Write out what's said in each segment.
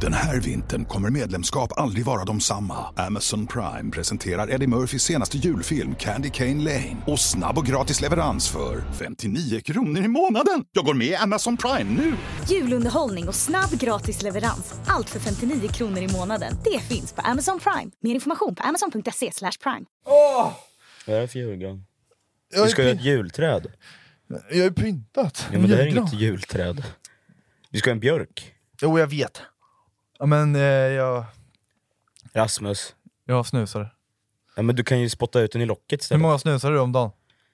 Den här vintern kommer medlemskap aldrig vara de samma. Amazon Prime presenterar Eddie Murphys senaste julfilm Candy Cane Lane. Och snabb och gratis leverans för 59 kronor i månaden. Jag går med i Amazon Prime nu! Julunderhållning och snabb gratis leverans. Allt för 59 kronor i månaden. Det finns på Amazon Prime. Mer information på amazon.se slash prime. Vad är det för julgran? Jag Vi har ska ju ha ett ju julträd. jag har ju pyntat. Ja, men det här är Julgran. inget julträd. Vi ska ha en björk. Jo, jag vet. Ja, men eh, jag, Rasmus. jag snusar. Ja, men du kan ju spotta ut den i locket Hur istället. många snusar du om dagen?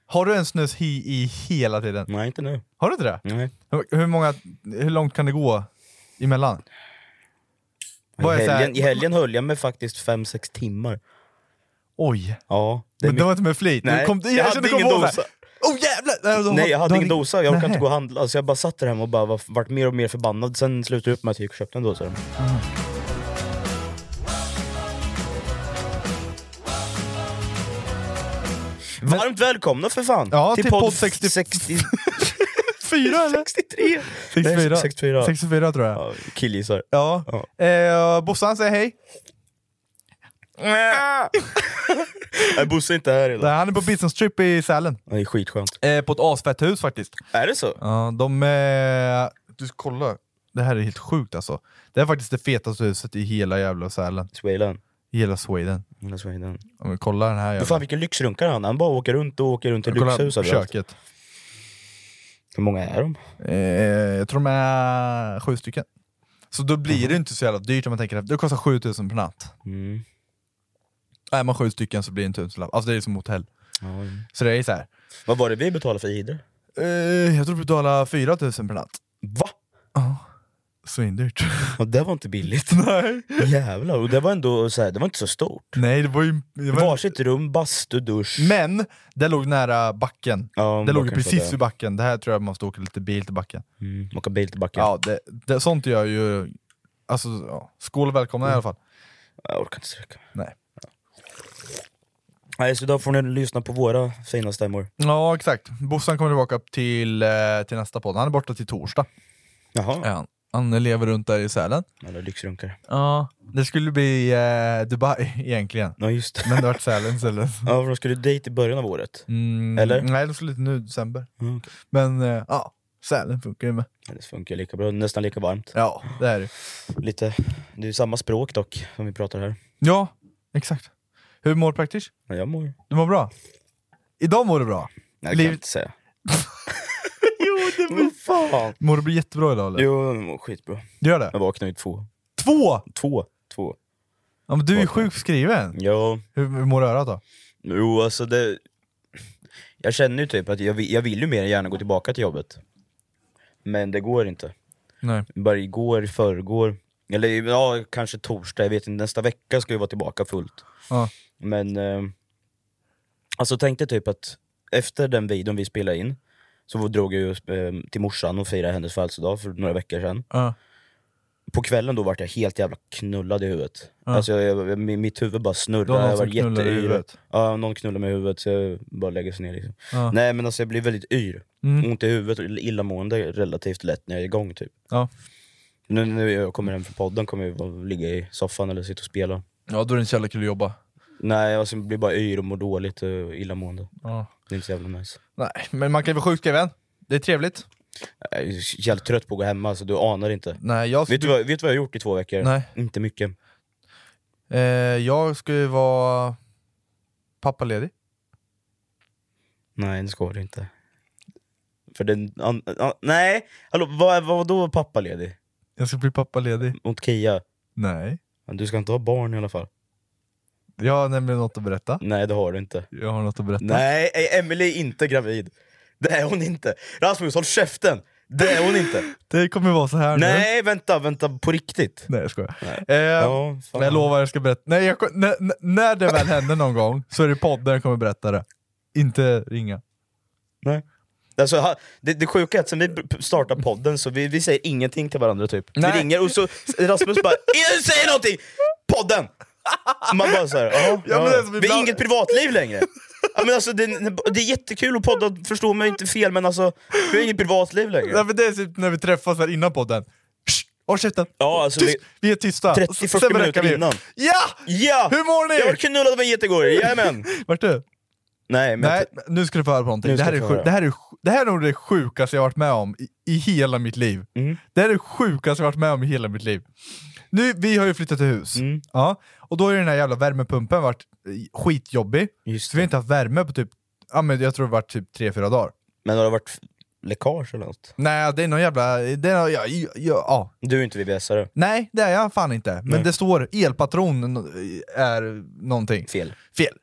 Har du en snus hi i hela tiden? Nej, inte nu. Har du inte det? Nej. Hur- Hur, många, hur långt kan det gå emellan? Vad är I, så här- helgen, I helgen höll jag mig faktiskt 5-6 timmar. Oj. Ja, det är Men det var mycket. inte med flit. Du Nej, kom, jag, jag hade kände kom ingen på dosa. dosa. Oh jävlar! Nej, de- Nej jag hade de- ingen dosa, jag orkade Nähä. inte gå och handla. Alltså, jag bara satt där hemma och bara var, vart mer och mer förbannad. Sen slutade jag upp med att jag gick och köpte en dosa. Varmt välkomna för fan! Ja, till podd 60 60... Fyra eller? 63! 64. 64. 64 tror jag. Ja, killgissar. Ja. Eh, Bossan säger hej. Nej Bosse är inte här Nej, idag. Han är på Bitsons trip i Sälen. Det är skitskönt. Eh, på ett asfett hus faktiskt. Är det så? Ja, de... Eh, du ska kolla. Det här är helt sjukt alltså. Det är faktiskt det fetaste huset i hela jävla Sälen. Sweden. I hela Sweden. Hela Sweden. Om vi kollar den här Men jävla... fan vilken lyxrunkare han är. Han bara åker runt och åker runt i lyxhus kolla överallt. köket. Hur många är de? Eh, jag tror de är sju stycken. Så då blir det ju inte så jävla dyrt om man tänker efter. Det kostar 7000 per natt. Mm. Är man sju stycken så blir det en tusenlapp. Alltså det är som hotell. Ja, ja. Så det är så här. Vad var det vi betalade för Idre? Eh, jag tror du betalar 4000 per natt. Va? Svindyrt. Ja, det var inte billigt. Nej. Jävlar, och det var ändå så här, det var inte så stort. Nej, det var ju... Det var Varsitt rum, bastu, dusch. Men det låg nära backen. Ja, det låg backen precis så där. vid backen. Det här tror jag man måste åka lite bil till backen. Mm, åka bil tillbaka. Ja, det, det, sånt gör ju... Alltså, ja. skål och välkomna Mm. i alla fall. Jag orkar inte sträcka mig. Nej. Nej, så idag får ni lyssna på våra fina stämmor. Ja, exakt. Bossan kommer tillbaka upp till, eh, till nästa podd. Han är borta till torsdag. Jaha, Är han. han lever runt där i Sälen. alla lyxrunkare. Ja. Det skulle bli eh, Dubai egentligen, Ja just det. men det vart Sälen istället. Ja, för de skulle dejt i början av året. Mm, Eller? Nej, de skulle nu i december. Mm, okej. Men eh, ja, Sälen funkar ju med. Ja, Det funkar lika bra, nästan lika varmt. Ja, det är det. Lite, det är ju samma språk dock, som vi pratar här. Ja, exakt. Hur mår praktiskt? Men jag mår Nej, Du mår bra? Idag mår du bra? det kan Liv- jag inte säga. jo, det blir fan! Mår du jättebra idag eller? Jo, jag mår skitbra. Du gör det? Jag vaknade ju två. Två! Två? Två. Ja, men du är ju Vaknar. sjukskriven. Ja, Hur, hur mår örat då? jo alltså det... Jag känner ju typ att jag, vill- jag vill ju mer än gärna gå tillbaka till jobbet. Men det går inte. Nej. Bara igår, i förrgår, eller ja, kanske torsdag, jag vet inte, nästa vecka ska jag vara tillbaka fullt. Ja. Men, eh, alltså tänkte typ att efter den videon vi spelade in, så drog jag ju eh, till morsan och firade hennes födelsedag för några veckor sedan. Ja. på kvällen då vart jag helt jävla knullad i huvudet. Ja. Alltså jag, jag, jag, mi- mitt huvud bara Det var snurrade. någon Jag var som knullade i jätteyr. huvudet. Ja, någon knullade mig i huvudet så jag bara lägger sig ner. Liksom. Ja. Nej men alltså jag blir väldigt yr. Mm. Ont i huvudet och ill- illamående relativt lätt när jag är igång typ. Ja. Nu när jag kommer hem från podden kommer jag bara ligga i soffan eller sitta och spela. ja, då är det inte så jävla kul att jobba. Nej, alltså, jag blir bara yr och mår dåligt och illamående. Ja. Det är inte så jävla nice. Nej, men man kan ju vara sjukskriven. Det är trevligt. Jag är så jävligt trött på att gå hemma, alltså, du anar inte. Nej, jag, Vet du, skulle- vad, vet du vad jag har gjort i två veckor? Nej. Inte mycket. eh, jag ska ju vara pappaledig. Nej, det ska du inte. För den... An, an, nej! Hallå, vad, vad då var pappa ledig? Jag ska bli pappaledig. Mot Kia? Nej. Men Du ska inte ha barn i alla fall. Jag har nämligen något att berätta. Nej, det har du inte. Jag har något att berätta. Nej, eh, Emily är inte gravid. Det är hon inte. Rasmus, håll käften! Det är hon inte. Det kommer vara så här nu. nej, vänta, vänta, på riktigt. Nej, jag skojar. Nej. Eh, Ja, fan. men jag lovar, jag ska berätta. Nej, jag, ko- när- när- när det väl händer någon gång så är det podden jag kommer berätta det. Inte ringa. Nej. Alltså, ha- det, det sjuka är att sen vi p- p- startar podden så vi, vi säger ingenting till varandra typ. Nej. Vi ringer och så Rasmus bara "Ingen säger någonting! Podden! Man bara såhär, ja, men ja. alltså, Vi vi har bland- inget privatliv längre. Ja, men alltså, det, det är jättekul att podda, förstå mig inte fel men alltså, vi har inget privatliv längre. Nej, men det är typ när vi träffas här innan podden. Shh, Håll käften! Ja, alltså, Tyst! det- Vi är tysta. 30-40 Sen berättar minuter vi. innan. Ja! Ja! Hur mår ni? Jag var knullad av en get igår, jajamän! Vart du? Nej, men Nej, jag- nu ska du få höra på någonting. Nu Det ska här, är jag få sjuk, höra. det, här är, sj- det här är nog det sjukaste jag varit med om i, i hela mitt liv. Mm. Det här är det sjukaste jag varit med om i hela mitt liv. Nu, vi har ju flyttat till hus, Mm. ja, och då har ju den här jävla värmepumpen varit eh, skitjobbig. Just så vi har inte haft värme på typ, ja, men jag tror det var typ 3-4 dagar. men har det varit f- läckage eller något? Nej, det är någon jävla... Det är någon, ja, ja, ja. Du är inte VVSare, Nej, det är jag fan inte. Men Nej. det står elpatron är någonting. fel. Fel.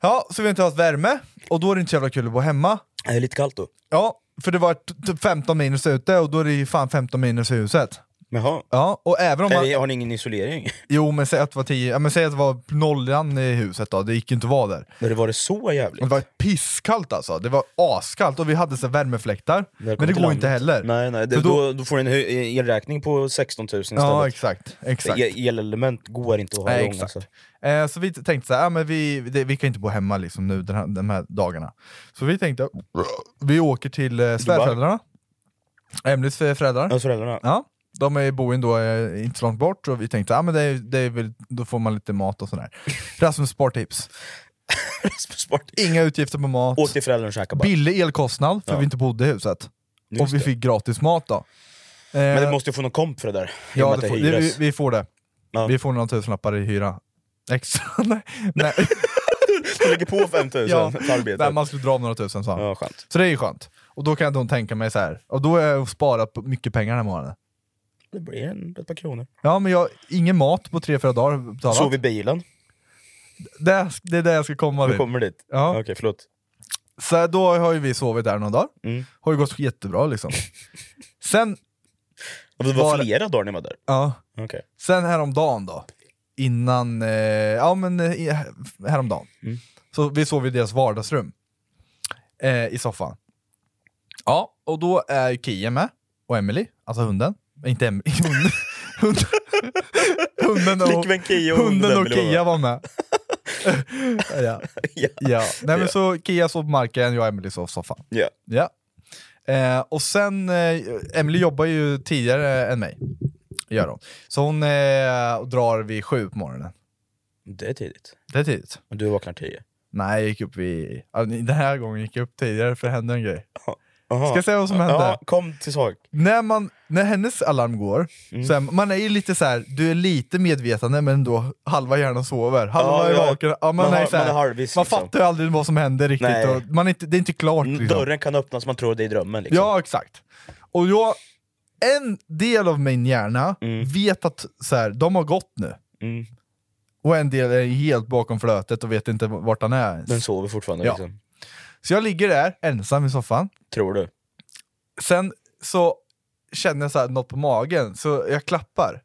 Ja, så vi har inte haft värme, och då är det inte så jävla kul att bo hemma. Är det lite kallt då? Ja, för det var t- typ 15 minus ute och då är det ju fan 15 minus i huset. Jaha. Ja, och även om man... Eller, har ni ingen isolering? Jo men säg att det var 10, ja, men säg att det var nollan i huset då, det gick ju inte att vara där. Men det var det så Det jävligt? var pisskallt alltså, det var askallt och vi hade så här värmefläktar. men det till går landet. inte heller. Nej, nej. Det, För då, då- då, får du en hö- e- elräkning på 16 000 istället. Ja exakt, exakt. E- Elelement går inte att ha Nej, igång exakt. alltså. Eh, så vi t- tänkte så här, ja, men vi, det, vi kan inte bo hemma liksom nu den här, de här dagarna. Så vi tänkte, vi åker till eh, svärföräldrarna, Emelies eh, föräldrar. Ja, föräldrarna. Ja, de är, bor ju ändå eh, inte så långt bort, och vi tänkte ah, men det är, det är väl, då får man lite mat och sådär. Rasmus spartips. Spart. Inga utgifter på mat, Åk till föräldrarna och käka bara. billig elkostnad för Ja. vi inte bodde i huset. Just och vi det. fick gratis mat då. Men Eh, du måste ju få någon komp för det där. I och med ja, att det får, det, hyras. vi, vi får det. Ja. Vi får några tusenlappar i hyra. Extra? Nej. Nej. Du lägger på 5 000 ja. för arbetet. Nej, man skulle dra av några tusen sa han. Ja, skönt. Så det är ju skönt. Och då kan jag inte tänka mig så här. och då har jag sparat på mycket pengar den här månaden. Det blir en, ett par kronor. Ja men jag, ingen mat på 3-4 dagar betalat. Sov i bilen. Det, det är det jag ska komma Vi till. kommer dit. Ja. Okej, förlåt. Så då har ju vi sovit där några dagar. Mm. Har ju gått jättebra liksom. sen, Och Det var Var- flera dagar ni var där. ja, Okej. sen häromdagen då. Innan, eh, ja men eh, i- häromdagen. Mm. Så vi sov i deras vardagsrum. Eh, I soffan. Ja, och då är Kia med. Och Emily, alltså hunden. Inte Emily, hunden. hunden. Hunden och, Flickvän Kia och hunden och Emily var med. Kia var med. ja. Ja. Ja. Nej, men Ja. så Kia sov på marken, jag och Emily sov i soffan. Ja. Ja. Eh, och sen, eh, Emily jobbar ju tidigare än mig. Gör hon. Så hon eh, drar vid sju på morgonen. Det är tidigt. Det är tidigt. Och du vaknar 10. Nej, jag gick upp vid... ja, Den här gången gick jag upp tidigare för det hände en grej. Aha. Ska jag säga vad som hände? Ja, kom till sak. När, man, när hennes alarm går, Mm. så är, man är ju lite så här, du är lite medvetande men då halva hjärnan sover, halva Ja, är ja. vaken. Ja, man, Man är har- så här, man är halvvis, man liksom. fattar ju aldrig vad som händer riktigt. Nej. Mm, Och man är inte, det är inte klart. Liksom. Dörren kan öppnas, man tror det är i drömmen. Liksom. Ja, exakt. Och jag, en del av min hjärna vet att så här, de har gått nu. Mm. Och en del är helt bakom flötet och vet inte vart han är Den ens. sover fortfarande. Ja. Liksom. Så jag ligger där ensam i soffan. Tror du? Sen så känner jag så här, något på magen, så jag klappar.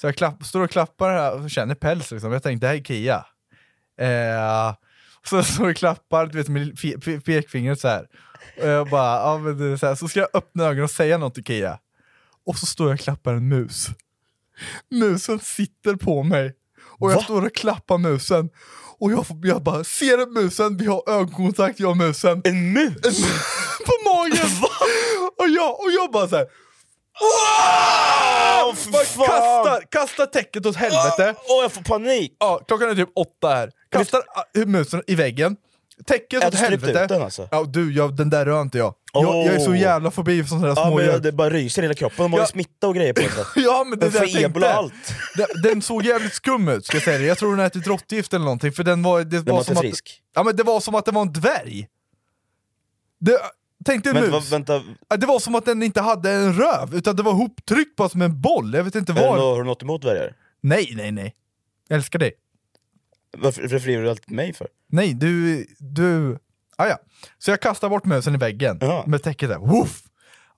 Så jag klapp, står och klappar här och känner päls. Liksom. Jag tänkte, det här är Kia. Eh, så står jag och klappar du vet, med fe- pe- pekfingret så här. Och jag bara, ja, men det är så, här. så ska jag öppna ögonen och säga något till Kia. Och så står jag och klappar en mus. Musen sitter på mig och jag Va? står och klappar musen. Och jag, får- jag bara, ser du musen? Vi har ögonkontakt jag och musen. En mus? på magen! Och, jag, och jag bara såhär... Åh, för fan! Kastar, kastar täcket åt helvete. Ah, Åh, jag får panik! Ja, klockan är typ åtta här. Kastar äh, musen i väggen. Täcket Jag åt hade strypt helvete. ut den alltså. Ja, du, jag, den där rör inte jag. Jag, jag är så Oh. jävla förbi för sådana där Ja, men smådjur. det bara ryser i hela kroppen, de har ju Ja. smitta och grejer på sig. Ja men det är Den det jag får ebola tänkte. och allt. Den, den såg jävligt skum ut ska jag säga det. Jag tror den har ätit råttgift eller någonting för den var... Det Den var var inte som att, frisk. Ja men det var som att det var en dvärg. Det, tänk dig en Vänta, vad- mus. vänta, Ja, Det var som att den inte hade en röv, utan det var hoptryckt bara som en boll. Jag vet inte är det nå- var. har du något emot dvärgar? Nej, nej, nej. Jag älskar dig. Varför varför driver du alltid mig för? Nej, du... du... Ah, ja. Så jag kastar bort musen i väggen Ja. med täcket där. Woof!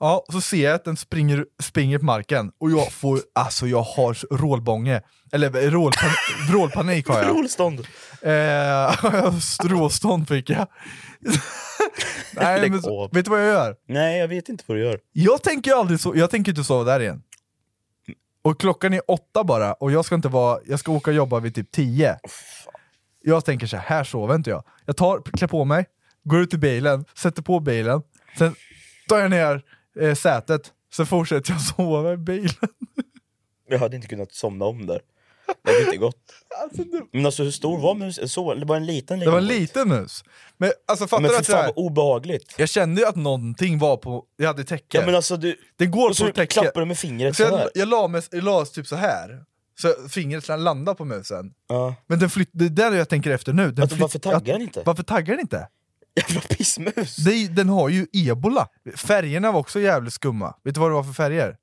Ja, så ser jag att den springer, springer på marken och jag får, alltså jag har så- rålbånge, eller rålpan, rålpanik har jag. Rolstånd! Eh, stråstånd fick jag. Nej, Lägg men, så- av. vet du vad jag gör? Nej, jag vet inte vad du gör. Jag tänker ju aldrig så, jag tänker inte sova där igen. Och klockan är åtta bara, och jag ska inte vara, jag ska åka och jobba vid typ tio. Jag tänker så här, här sover inte jag. Jag tar, klär på mig, går ut i bilen, sätter på bilen, sen tar jag ner eh, sätet, sen fortsätter jag sova i bilen. Jag hade inte kunnat somna om där. Det hade inte gått. Alltså, det, Men alltså hur stor var musen? Så, det var en liten? det var en liten bit. liten mus. Men alltså fattar Men du för att jag, fan vad obehagligt. jag kände ju att någonting var på, jag hade täcke. Ja men alltså du... det går Och så på täcke. klappar du med fingret Så jag, sådär. jag, la mig, jag la typ så här. så fingret landade på musen. Ja. Men den flytt, det är där jag tänker efter nu. Den Att, varför flytt- taggar den inte? Att, varför taggar den inte? Jävla pissmus! Det är, ju- den har ju ebola. Färgerna var också jävligt skumma. Vet du vad det var för färger?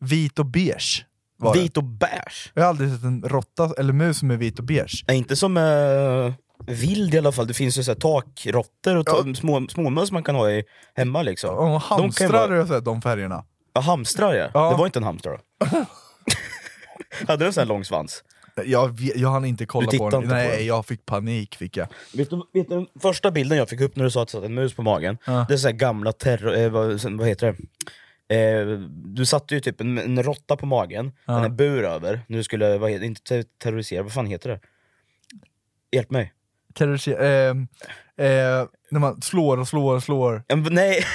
Vit och beige. Var det. Vit och bärs. Jag har aldrig sett en råtta eller mus som är vit och beige. Nej, inte som eh, vild i alla fall, det finns ju så här takråttor och ta- små, småmöss man kan ha i, hemma liksom. Och De kan ju hamstrar har jag sett de färgerna. ja, hamstrar ja. Ja. Det var inte en hamstrar då. Hade den sån här lång svans? Jag, vet- jag hann inte kolla Du tittade på den. inte på Nej, den? jag fick panik. Fick jag. Vet du, vet du den första bilden jag fick upp när du sa att det satt en mus på magen? Det är så här gamla terror... Eh, vad, sen- vad heter det? Eh, du satte ju typ en, en råtta på magen, den är bur över, nu skulle, vad heter, inte ter- terrorisera, vad fan heter det? Hjälp mig. Kan du se, ehm, eh, när man slår och slår och slår. Ja, men nej!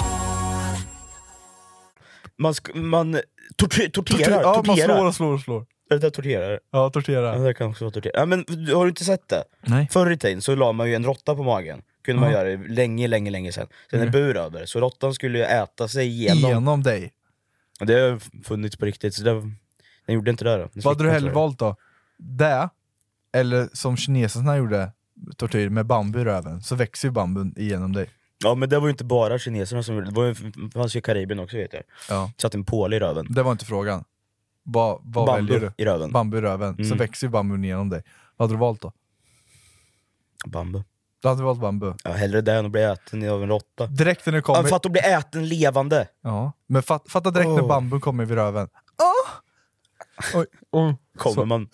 Man, sk- man torty- torterar, Tortyr- ja, man torterar. slår och slår och slår. Det där torterar. Ja, Ja, tortera. det där kan också vara torterar. Ja, men du- har du inte sett det? Nej. Förr i tiden så la man ju en råtta på magen. Kunde man göra det länge, länge, länge sedan. Sen en Mm. bur över, så råttan skulle ju äta sig igenom. Genom dig. Och Det har funnits på riktigt, så det, den gjorde inte det. Då. Den Vad hade du sviktade, hellre tror jag. valt då? Det, eller som kineserna gjorde, tortyr med bambu i röven, så växer ju bambun igenom dig. Ja men det var ju inte bara kineserna som gjorde det, det, var ju, det fanns ju i Karibien också vet jag. Ja. Satt en pål i röven. Det var inte frågan. Vad, vad väljer Bambu du? i röven. Mm. Bambu i röven, så växer ju bambun igenom dig. Vad hade du valt då? Bambu. Du hade valt bambu. Ja, hellre det än att bli äten av en råtta. Direkt när du Ja, kommer... för att bli äten levande! Ja, men fat, fatta direkt när Oh. bambun kommer vid röven. Åh! Oj. Oh. Kommer Så. man...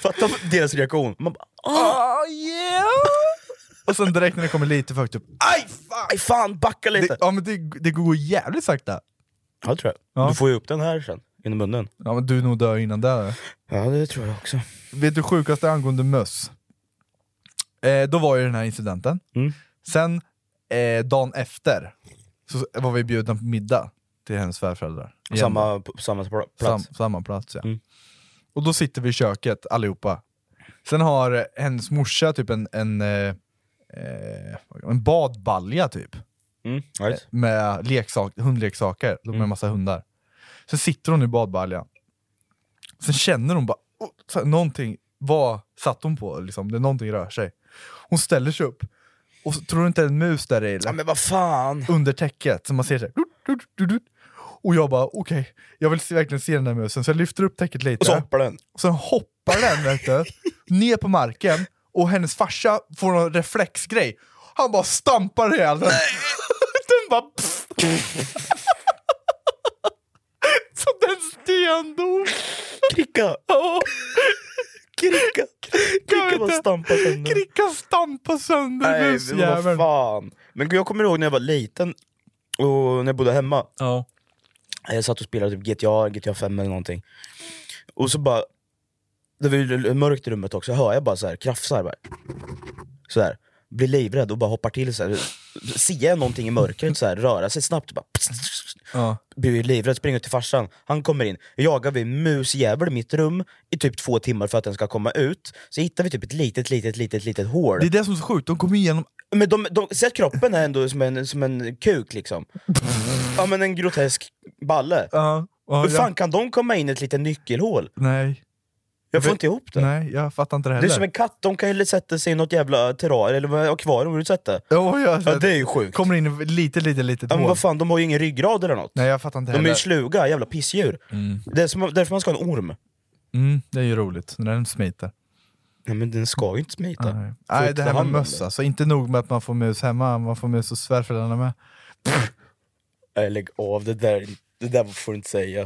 Fatta deras reaktion. Man bara, Ah, yeah! Och sen direkt när det kommer lite för högt upp. aj fan, aj, fan backa lite! Det, ja, men det, det går jävligt sakta. Ja, det tror jag. Ja. Du får ju upp den här sen, inom munnen. Ja, men du är nog dö innan det. Här. Ja, det tror jag också. Vet du sjukaste angående möss? Eh, då var ju den här incidenten. Mm. Sen eh, dagen efter så var vi bjudna på middag till hennes svärföräldrar. Igen. Samma, på samma pl- plats. Sam, samma plats ja. Mm. Och då sitter vi i köket allihopa. Sen har eh, hennes morsa typ en, en, eh, eh, en badbalja typ. Mm, right. med leksak, hundleksaker, de Mm. med massa hundar. Sen sitter hon i badbaljan. Sen känner hon bara, "Åh", så här, någonting, vad satt hon på? Liksom? Det, någonting rör sig. Hon ställer sig upp, och så tror du inte det är en mus där i? Ja, eller? men vad fan! Under täcket, som man ser såhär. Och jag bara okej, jag vill se, verkligen se den där musen. Så jag lyfter upp täcket lite. Och så hoppar den. Och sen hoppar den vet du, ner på marken och hennes farsa får någon reflexgrej. Han bara stampar ihjäl den. den bara... Pff. så den stendog. Kricka! Ja. Kricka! Kricka vet bara inte. stampa sönder. Krickan stampar sönder Nej, men vad musjäveln. fan. Men gud, jag kommer ihåg när jag var liten och när jag bodde hemma. Ja. Jag satt och spelade typ GTA, GTA 5 eller någonting. Och så bara... Det var ju mörkt i rummet också, hör jag bara så här, krafsar. Bara. Så här. Blir livrädd och bara hoppar till. Så här. Ser jag någonting i mörkret så här, röra sig snabbt. Bara, Ja. blir ju livrädd, springer till farsan. Han kommer in, jagar vi musjävel i mitt rum i typ två timmar för att den ska komma ut. Så hittar vi typ ett litet, litet, litet, litet hål. Det är det som är så sjukt, de kommer igenom... Men de, de, så att kroppen är ändå som en, som en kuk liksom. Ja men en grotesk balle. Ja, ja, Hur fan jag, kan de komma in i ett litet nyckelhål? nej, Jag får Vet- inte ihop det. nej, jag fattar inte det Det heller. är som en katt, de kan ju sätta sig i något jävla terrarium eller vad- akvarium, vill du sätta? Ja, jag, Ja det är ju sjukt. Kommer in i ett litet, litet, litet Ja, men hål. vad fan, de har ju ingen ryggrad eller något. Nej, jag fattar inte de är heller. ju sluga, jävla pissdjur. Det är som, därför man ska ha en orm. Mm, det är ju roligt, när den smiter. Nej men den ska ju inte smita. Nej, Får nej inte det ta här med hand om möss alltså. Inte nog med att man får mus hemma, man får mus hos svärföräldrarna med. det. Nej, Lägg av, det där, det där får du inte säga.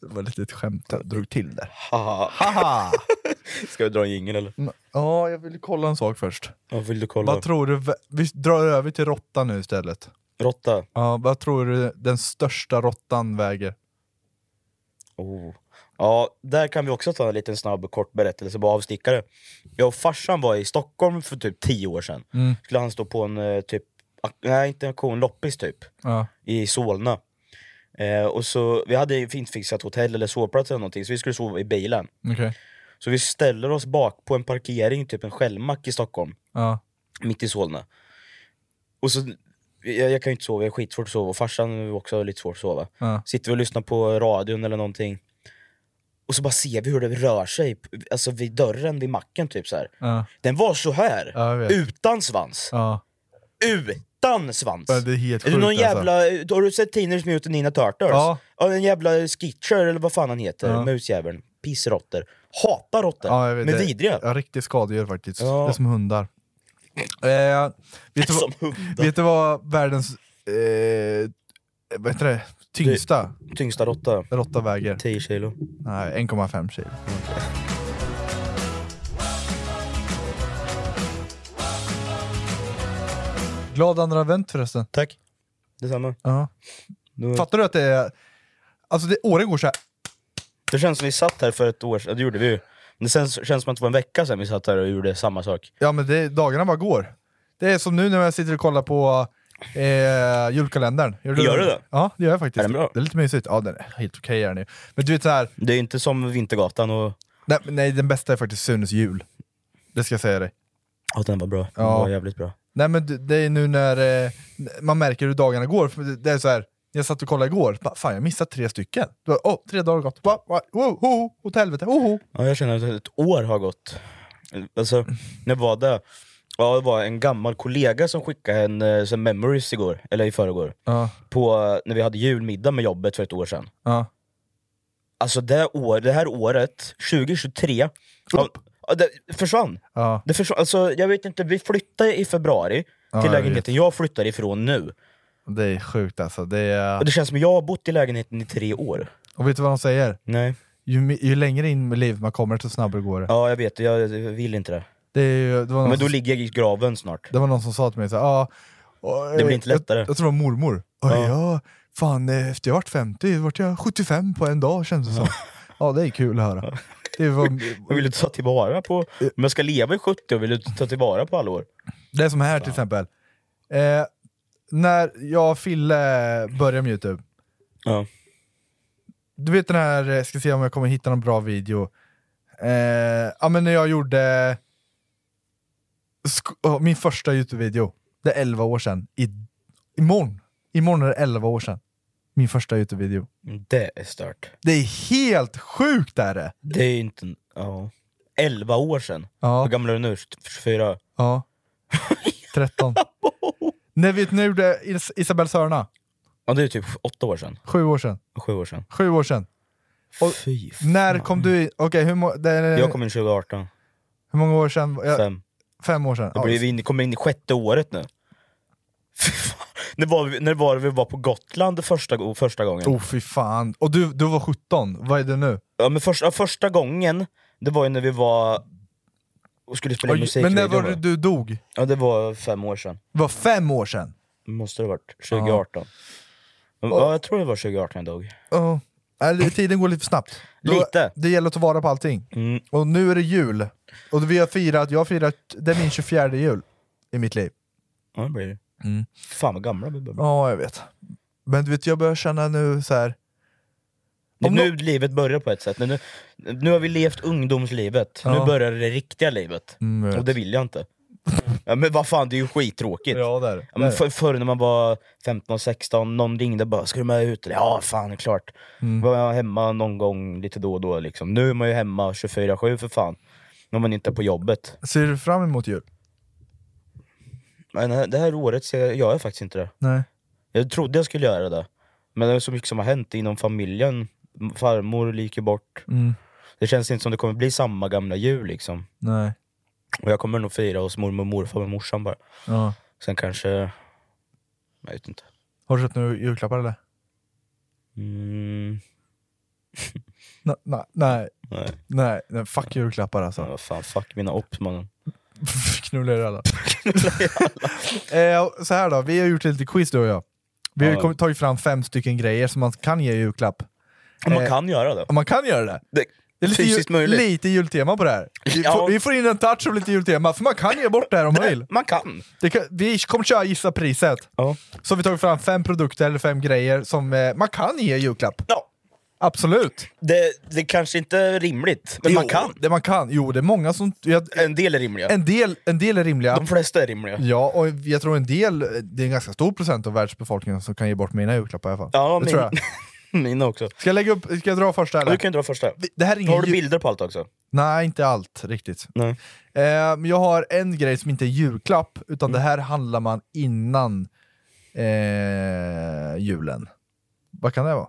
Det var lite ett skämt, jag drog till det. Haha. Haha! Ska vi dra en jingel eller? Mm, Ja, jag ville kolla en sak först. Ja, vill du kolla? Vad tror du, vi drar över till råtta nu istället. Råtta. Ja, vad tror du den största råttan väger? Oh. Ja, där kan vi också ta en liten snabb och kort berättelse, bara avstickare. Jag och farsan var i Stockholm för typ tio år sedan. Skulle han stå på en eh, typ, ak- nej inte en auktion, loppis typ, Ja. i Solna. Eh, och så, vi hade ju inte fixat hotell eller sovplats eller någonting, så vi skulle sova i bilen. Okej. Så vi ställer oss bak på en parkering, typ en självmack i Stockholm, Ja. mitt i Solna. Och så, jag, jag kan ju inte sova, jag är skitsvårt att sova, och farsan har också lite svårt att sova. Ja. Sitter vi och lyssnar på radion eller någonting. Och så bara ser vi hur det rör sig alltså vid dörren vid macken. typ så här. Ja. Den var så här Ja, jag vet. utan svans. ja. Utan svans! Ja, det är helt Är det sjukt, någon jävla, alltså. Har du sett Teenage Mutant Ninja Turtles? Ja. En jävla Skitcher eller vad fan han heter, Ja. musjäveln. Pissrotter. Hatar råttor. Ja, jag vet, men det- vidriga. Ja, riktigt skadedjur faktiskt. Ja. Det är som hundar. Eh, vet, du, Som vad- hundar. vet du vad världens eh, vad heter det? tyngsta Tyngsta råtta. råtta väger? 10 kilo. Nej, 1,5 kilo. Glad andra advent förresten. Tack. Detsamma. Ja. Det, var- Fattar du att det är... Alltså det, åren går så här. det känns som vi satt här för ett år sedan, ja, det gjorde vi ju. Men det känns, känns som att det var en vecka sedan vi satt här och gjorde samma sak. Ja men det, dagarna bara går. Det är som nu när jag sitter och kollar på eh, julkalendern. Gör du det? Ja det gör jag faktiskt. Är den bra? Det är lite mysigt. Ja den är helt okej är den ju. Men du vet såhär, Det är inte som Vintergatan och nej, nej den bästa är faktiskt Sunes jul. Det ska jag säga dig. att den var bra. Den Ja. var jävligt bra. Nej men det- det är nu när eh, man märker hur dagarna går. För det- Det är så här, jag satt och kollade igår, bara, fan jag missade tre stycken. Då, oh, tre dagar har gått. Va, va, oh, oh, åt helvete, oh, oh. Ja, jag känner att ett år har gått. Alltså, när var det? Ja, det var en gammal kollega som skickade en eh, sån memories igår, eller i förrgår. Ja, På eh, när vi hade julmiddag med jobbet för ett år sedan. ja. Alltså det, år, det här året, 2023, ja, ja, det försvann. Ja. Det försvann. Alltså, jag vet inte, vi flyttade i februari till jag lägenheten jag flyttar ifrån nu. Det är sjukt alltså. Det är, Och det känns som att jag har bott i lägenheten i tre år. och vet du vad de säger? Nej. Ju, mi- ju längre in i livet man kommer, desto snabbare går det. Ja, jag vet, jag jag vill inte det. Det, är ju, det, var någon Men då som, ligger jag i graven snart. det var någon som sa till mig så här, ah, och, Det blir eh, inte lättare. Jag, jag tror det var mormor. Ja. Ja, fan, eh, efter jag vart 50 vart jag 75 på en dag kändes det som. Ja, det är kul att höra. Det, var, Jag vill du ta tillvara på... Om jag ska leva i 70 år, vill du ta tillvara på alla år? det är som här till exempel. Eh, när jag och Fille började med Youtube, Ja. du vet den här, eh, ska se om jag kommer hitta någon bra video. Eh, ja men när jag gjorde sk- ja, min första Youtube-video, det är 11 år sedan. I, imorgon, imorgon är det 11 år sedan. Min första Youtube-video. Det är stört. Det är helt sjukt är det! Det är inte... Ja. 11 år sedan. Hur Ja, gammal är du nu? 24? ja. 13. Nej vet ni hur det Is- Isabelle Sörna? Ja, det är typ åtta år sedan. Sju år sedan. Sju år sedan. Sju år sedan. Och Fy När fan. kom du in? Okej, hur, må- det är- Jag kom in 2018, hur många år sedan? Ja, fem. fem år sedan. Jag blev in, kommer in i sjätte året nu. Fy fan. När var, vi, när var det vi var på Gotland första, första gången? Oh fy fan. Och du, du var 17, vad är det nu? Ja, men första, första gången, det var ju när vi var och skulle spela Oj, musik. Men när var det du dog? Ja, det var fem år sedan. Det var fem år sedan. Måste det ha varit 2018. Ja. Och- jag tror det var 2018 jag dog. Ja. Eller, Äh, tiden går lite för snabbt. Då- Lite. Det gäller att ta vara på allting. Mm. Och nu är det jul. Och vi har firat, jag har firat, det är min 24 jul i mitt liv. Ja, det blir det. Mm. Fan vad gamla vi börjar bli. Ja, jag vet. Men du vet, jag börjar känna nu så här. Det är Om nu livet börjar på ett sätt. Nu, nu har vi levt ungdomslivet, Ja. nu börjar det riktiga livet. Mm, jag vet. Och det vill jag inte. Ja, men vad fan, det är ju skittråkigt. Ja, där. Ja, men för, förr när man var 15, 16, någon ringde bara “ska du med ut?” Ja, fan det är klart. Mm. Var jag hemma någon gång lite då och då liksom. Nu är man ju hemma 24-7 för fan. När man inte är på jobbet. Ser du fram emot jul? Men det här året ser jag, gör jag faktiskt inte det. Nej. Jag trodde jag skulle göra det. Men det är så mycket som har hänt inom familjen. Farmor gick ju bort. Mm. Det känns inte som det kommer bli samma gamla jul liksom. Nej. Och jag kommer nog fira hos mormor och morfar med morsan bara. Ja. Sen kanske... Jag vet inte. Har du köpt några julklappar eller? Mm, Nej, nej, nej, nej. nej, nej fuck julklappar alltså. Ja, vad fan, fuck mina ops mannen. Knulla er alla. eh, så här då, vi har gjort lite quiz du och jag. Vi har ju Ja. kommit- tagit fram fem stycken grejer som man kan ge i julklapp. Och Man Eh, kan göra det. Och man kan göra det. det Det är lite, fysiskt ju, möjligt. lite jultema på det här. Vi, Ja. får, vi får in en touch av lite jultema, för man kan ge bort det här om man vill. Man kan. Det kan, vi kommer köra gissa priset. Ja. Så har vi tagit fram fem produkter eller fem grejer som eh, man kan ge i julklapp. ja. Absolut! Det, det kanske inte är rimligt, men man Jo, kan. Det man kan. Jo, det är många som... Jag, En del är rimliga. en, del, en del är rimliga. De flesta är rimliga. Ja, och jag tror en del, det är en ganska stor procent av världsbefolkningen som kan ge bort mina julklappar i alla fall. Ja, det min, tror jag. mina också. Ska jag lägga upp, ska jag dra första eller? Du kan ju dra första. Vi- Det här är ingen Har du ju- bilder på allt också? Nej, inte allt riktigt. Nej. Eh, men jag har en grej som inte är julklapp, utan Mm. det här handlar man innan eh, julen. Vad kan det vara?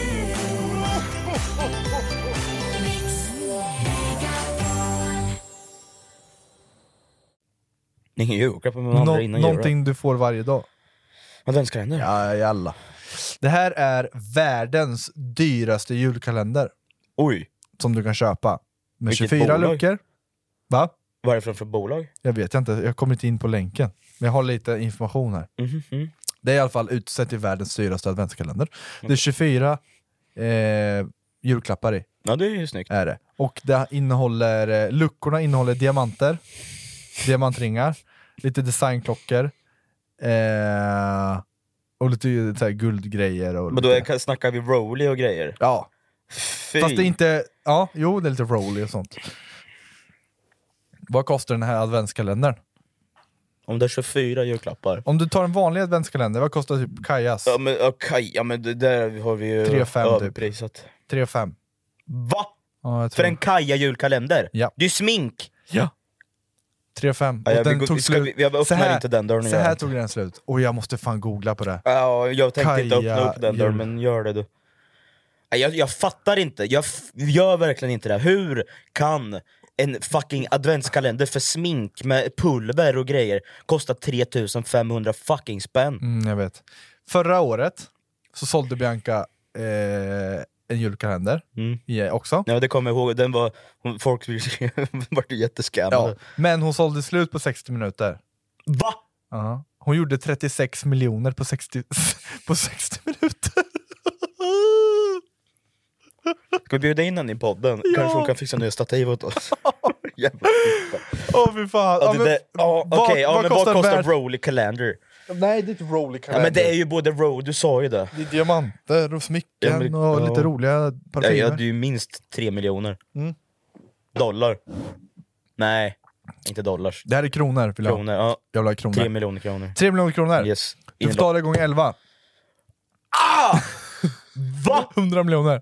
Det är ingen julklapp, men man handlar Nå- innan någonting jul. du får varje dag. Adventskalender? Ja, jalla. Det här är världens dyraste julkalender Oj, som du kan köpa. Med Vilket 24 bolag? luckor. Va? vad är det för- för bolag? Jag vet inte, jag kommer inte in på länken. Men jag har lite information här. Mhm. Det är i alla fall utsett till världens dyraste adventskalender. Det är 24 eh, julklappar i, Ja, det är ju snyggt. är det. Och det innehåller, eh, luckorna innehåller diamanter, diamantringar, lite designklockor, eh, och lite eh, så här, guldgrejer. Och Men då lite, är, snackar vi Rolly och grejer? Ja, Fy. fast det är inte... Ja, jo, det är lite rolig och sånt. Vad kostar den här adventskalendern? Om det är 24 julklappar. Om du tar en vanlig adventskalender, vad kostar typ Kajas? Ja men okej, ja, men det där har vi ju 3,5 typ. överprisat. 3,5. Va? Ja, jag För tror en Kaja julkalender? Ja. Det är ju smink! Ja. 3-5. Ja, Och jag vill den gå- tog vi ska- slut. vi- jag öppnar Så här- inte den dörren Så igen. här tog den slut. Och jag måste fan googla på det. Ja, jag tänkte inte Kaja öppna upp den dörren, jul. men gör det du. Nej, Jag, jag fattar inte, jag f- gör verkligen inte det. Hur kan en fucking adventskalender för smink med pulver och grejer kosta 3500 fucking spänn? Mm, jag vet. Förra året så sålde Bianca eh, en julkalender Mm. i- också. Ja det kommer jag ihåg, den var, hon- folk vart ju jättescammade. Ja. Men hon sålde slut på 60 minuter. Va? Ja. Hon gjorde 36 miljoner på 60, på 60 minuter. Ska vi bjuda in henne i podden? Kanske hon kan fixa nya stativ åt oss. Jävla skit. Åh fy fan. Ja, det men där- ja, vad- Okej, ja, men vad kostar värld- Broly Calendar? Nej, det är ett rollerkalender. Ja, men det är ju både road, du sa ju det. Det är diamanter och Ja, smycken men- och ja. lite roliga Ja, parfymer. ja, det är ju minst tre miljoner. Mm. Dollar. Nej, inte dollars. Det här är kronor, vill jag ha. Kronor, ja. Jag vill ha kronor. Tre 3, miljoner kronor. miljoner kronor. Yes. Ah! Du får ta det gånger 11. Va? 100 miljoner.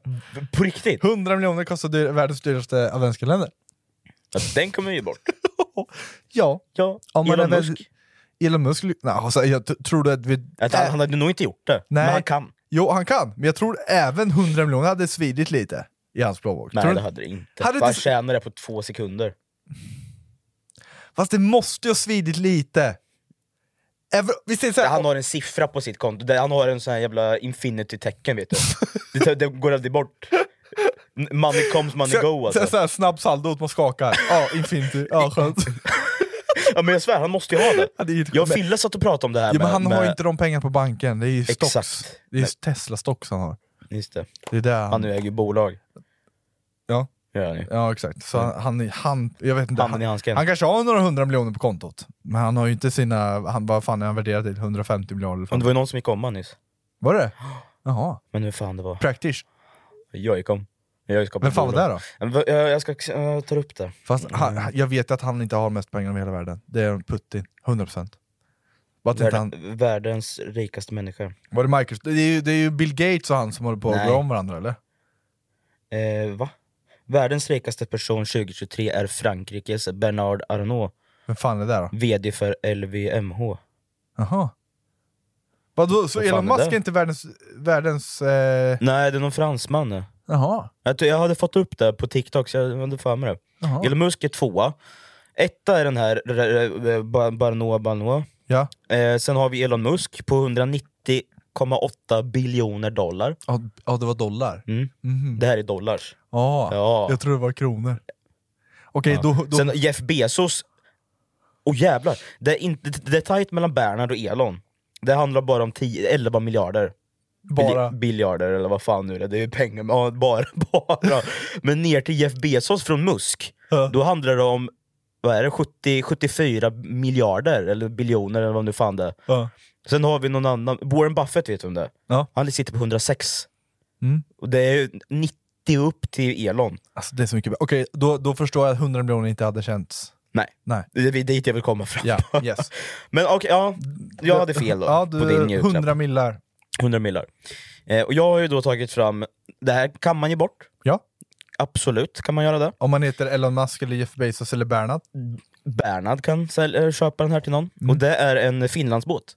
På riktigt? 100 miljoner kostar dyr, världens dyraste adventskalender. Ja, den kommer ju bort. Ja. Ja, Om man Elon är Musk. väldigt- Elon Musk, ly- nej, alltså, jag t- tror du att vi... Att han, han hade nog inte gjort det, Nej. men han kan. Jo, han kan, men jag tror även 100 miljoner hade svidit lite i hans plånbok. Nej tror det du- hade det inte. Hade Hade han inte- tjänar det på två sekunder. Fast det måste ju ha svidit lite. Även, vi säger så här, Han har en siffra på sitt konto, där han har en sån här jävla infinity-tecken vet du. Det, tar- det går aldrig bort. Money comes, money så, go så, alltså. så här, snabb saldot, man skakar. Ja, infinity. Ja, skönt. Ja, men jag svär, han måste ju ha det. Ja, det är ju- Jag och men- Fille satt och pratade om det här Ja, men med, han med, har ju inte de pengarna på banken, det är ju stocks. Exakt. Det är ju Tesla stocks han har. Just det. Det är där Han han... nu äger ju bolag. Ja. Gör han ju. Ja exakt, så han, han, han, jag vet inte, Handen Mm. i handsken. han kanske har några hundra miljoner på kontot, men han har ju inte sina, han, vad fan är han värderad till? 150 miljarder? Men Fan. det var ju någon som gick om han nyss. Var det Jaha, Men hur fan det var. praktiskt. Jag gick om. Jag gick om Vem fan var det då? då? Jag, jag ska jag tar upp det. Fast han, jag vet att han inte har mest pengar i hela världen, det är Putin, 100% Bara att inte han, Världen, världens rikaste människa. var det Microsoft? Det är, ju, det är ju Bill Gates och han som håller på att Nej. gå om varandra eller? Eh, va? Världens rikaste person 2023 är Frankrikes Bernard Arnault, Vem fan är det då? VD för LVMH. Jaha Vadå, så Vad fan Elon är Musk är det? inte världens, världens eh, Nej, det är någon fransman. ja. jaha, Jag tror- Jag hade fått upp det på TikTok, så jag hade för mig det. Jaha. Elon Musk är tvåa. Etta är den här r- r- r- Ba- Barnoa Barnoa. ja, Eh, sen har vi Elon Musk på 190,8 biljoner dollar. ja, ja det var dollar Mm. Mhm. Det här är dollars. Ja, Ja. jag tror det var kronor. Okej, då... då Sen Jeff Bezos, åh jävlar. Det är, inte, det är tajt mellan Bernard och Elon. Det handlar bara om 10, 11 miljarder. bara... Bil- Biljarder eller vad fan nu är det, det är ju pengar, men ja, bara, bara. Men ner till Jeff Bezos från Musk, Ja. då handlar det om vad är det, 70, 74 miljarder eller biljoner eller vad nu fan det är. Ja. Sen har vi någon annan, Warren Buffett vet du om det är? Ja. Han sitter på 106. Mm. Och det är ju 90 upp till Elon. Alltså det är så mycket... Okej, då, då förstår jag att 100 miljoner inte hade känts... Nej. Nej. Det är dit jag vill komma fram. Ja, yes. Men okej, ja, jag hade fel då, Ja, på din du, julklapp. 100 millar. 100 millar. Eh, och jag har ju då tagit fram, det här kan man ge bort. Ja. Absolut kan man göra det. Om man heter Elon Musk eller Jeff Bezos eller Bernhard. Bernhard kan säl- eh, köpa den här till någon. Mm. Och det är en Finlandsbåt.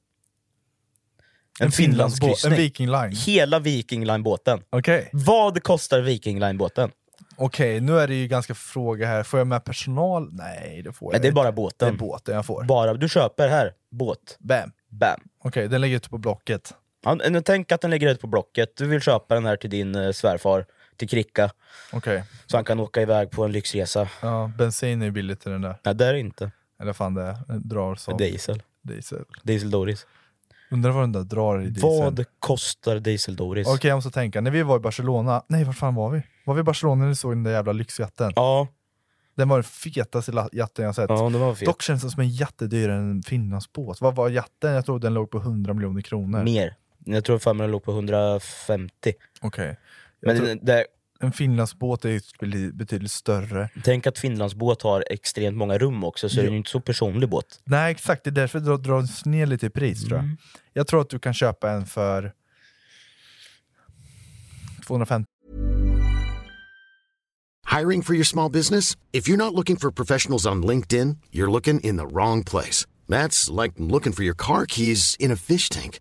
En, Finlandsbåt, En Finlandskryssning. Viking Line. Hela Viking Line-båten. Okej, Vad kostar Viking Line-båten? Okej, nu är det ju ganska fråga här. Får jag med personal? Nej, det får jag Nej, det är inte. bara Det är båten. båten jag får. Bara, du köper här, båt. Bam. Bam. Okej, den ligger ute på Blocket. Ja, nu tänk att den ligger ute på Blocket, du vill köpa den här till din eh, svärfar, till Kricka, Okej. så han kan åka iväg på en lyxresa. Ja, bensin är ju billigt i den där. Nej det är det inte. Eller fan det är. Den drar som Diesel. diesel. Diesel Doris. Undrar vad den där drar i diesel. Vad kostar Diesel Doris? Okej, jag måste tänka. När vi var i Barcelona, nej vart fan var vi? Var vi i Barcelona när vi såg den där jävla lyxjatten? Ja, Den var den fetaste la- jatten jag sett. ja, det var fel. Dock känns den som en jättedyr en Finlandsbåt. Vad var jatten? Jag tror den låg på 100 miljoner kronor. Mer. Jag tror fan den låg på 150. Okej. Jag Men tror- det, En Finlandsbåt är ju bli- betydligt större. tänk att Finlands båt har extremt många rum också, så det är ju inte så personlig båt. Nej exakt, det är därför det dras ner lite i pris tror Mm. jag. Jag tror att du kan köpa en för 250 Hiring for your small business? If you're not looking for professionals on LinkedIn, you're looking in the wrong place. That's like looking for your car keys in a fish tank.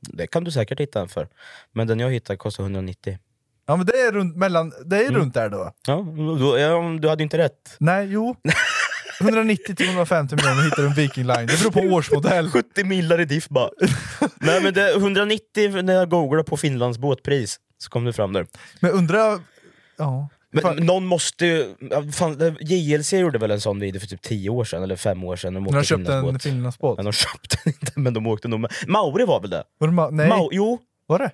Det kan du säkert hitta en för. Men den jag hittade kostade 190. Ja men det är runt, mellan, det Mm. är runt där då. Ja, du, ja, du hade ju inte rätt. Nej, jo. 190 till 150 miljoner hittar du en Viking Line. Det beror på årsmodell. 70 millar i diff bara. Nej men det, 190 när jag googlade på Finlands båtpris så kom det fram där. Men undrar... Ja. Men Fan, någon måste ju... ja, Fan, eh, det- JLC gjorde väl en sån video för typ 10 år sedan, eller 5 år sedan. De när åkte de köpte en Finlandsbåt. Finlandsbåt. Men de köpte den inte, men de åkte nog med. Mauri var väl det? Var det ma- nej, Mau- jo, var det?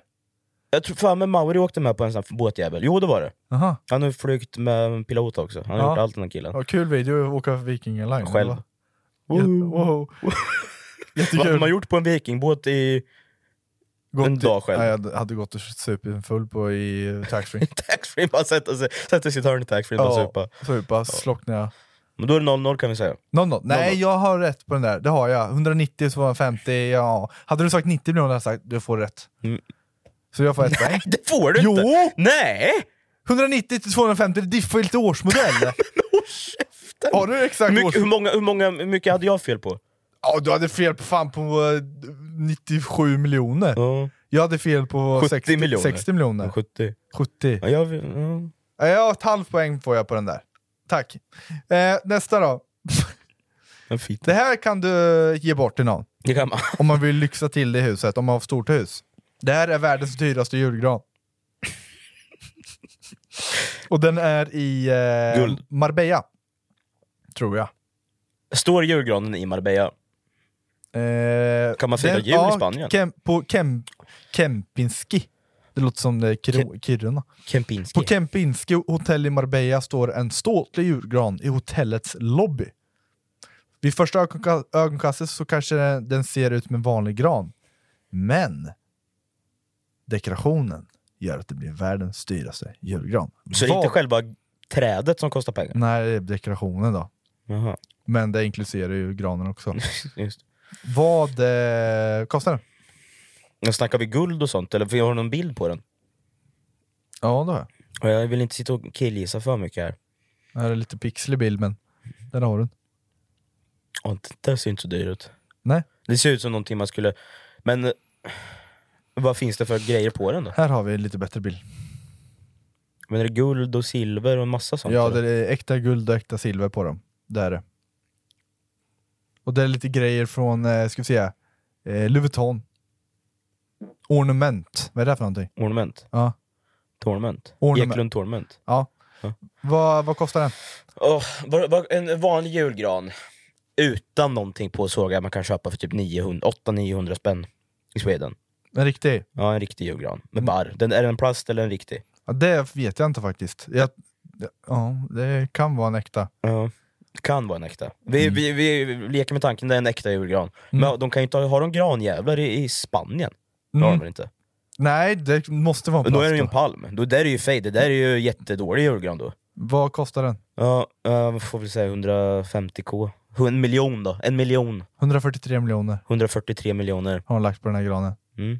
jag tror fan med Mauri åkte med på en sån här båtjävel. Jo det var det. Aha. Han har ju flugit med en pilot också. Han har Ja. gjort allt den här killen. Ja, kul video att åka för Viking Line. Själv. Det var- Jät- wow. Vad har Jättekul. man gjort på en vikingbåt i Gått en i- dag själv? Nej, jag hade- hade gått och supit full på i eh, taxfree. taxfree? Bara sätta sig, sätta sig i ett hörn i taxfree och bara supa. supa. Slocknade jag. Men då är det 0-0 kan vi säga. No, no. Nej, 00. jag har rätt på den där. Det har jag. 190, 250, ja. Hade du sagt 90 miljoner hade jag sagt du får rätt. Mm. Så jag får ett poäng. Nej det får du Jo! inte! Nej! 190 till 250, det diffar ju lite årsmodell. har du exakt Hur mycket, hur, årsmodell? många, hur, många, hur mycket hade jag fel på? Ja, du hade fel på fan på eh, 97 miljoner. Ja, Jag hade fel på 70 60 miljoner. 60 miljoner. 70. 70. Ja, jag, ja. Ja, Jag har ett halvt poäng får jag på den där. Tack. Eh, nästa då. En fit. Det här kan du ge bort till någon. Det kan man. Om man vill lyxa till det i huset, om man har stort hus. Det här är världens dyraste julgran. Och den är i eh, Guld. Marbella. Tror jag. Står julgranen i Marbella? Eh, Kan man fira jul i Spanien? Kem, på Kem, Kempinski. Det låter som det är Kiro- Kiruna. Kempinski? På Kempinski hotell i Marbella står en ståtlig julgran i hotellets lobby. Vid första ögonka- ögonkastet så kanske den- den ser ut som en vanlig gran. Men dekorationen gör att det blir världens dyraste julgran. Så det är inte Vad- själva trädet som kostar pengar? Nej, det är dekorationen då. Jaha, Men det inkluderar ju granen också. just. Vad eh, kostar den? Men Snackar vi guld och sånt, eller? För jag har någon bild på den. Ja, det har jag. Och jag vill inte sitta och killgissa för mycket här. Det här är lite pixlig bild, men där har du den. Åh, det där ser inte så dyrt ut. Nej, Det ser ut som någonting man skulle... Men eh, vad finns det för grejer på den då? här har vi en lite bättre bild. Men är det guld och silver och en massa sånt? Ja, eller? det är äkta guld och äkta silver på dem. Det är det. Och det är lite grejer från, eh, ska vi säga, eh, Louis Vuitton. Ornament. Vad är det här för någonting? Ornament? Ja. Torment? Ornament. Eklund Torment? ja. Ja. Vad, vad kostar den? Åh, vad- vad- en vanlig julgran utan någonting på såg jag man kan köpa för typ 900 800-900 spänn i Sweden. En riktig? Ja, en riktig julgran. Med barr. Den, är den plast eller en riktig? Ja, det vet jag inte faktiskt. Jag, ja, det kan vara en äkta. Ja. Mm. Kan vara en äkta. Vi, vi, vi leker med tanken, det är en äkta julgran. Men de kan ju inte ha, har de granjävlar i, i Spanien? Det har de väl inte? Nej, det måste vara en Men då är Mm. det plast. ju en Då. palm. Då där är det ju fade. Det där är ju jättedålig julgran då. Vad kostar den? Ja, uh, får väl säga 150k. En miljon då. En miljon. 143 miljoner 143 miljoner. har hon lagt på den här granen. Mm.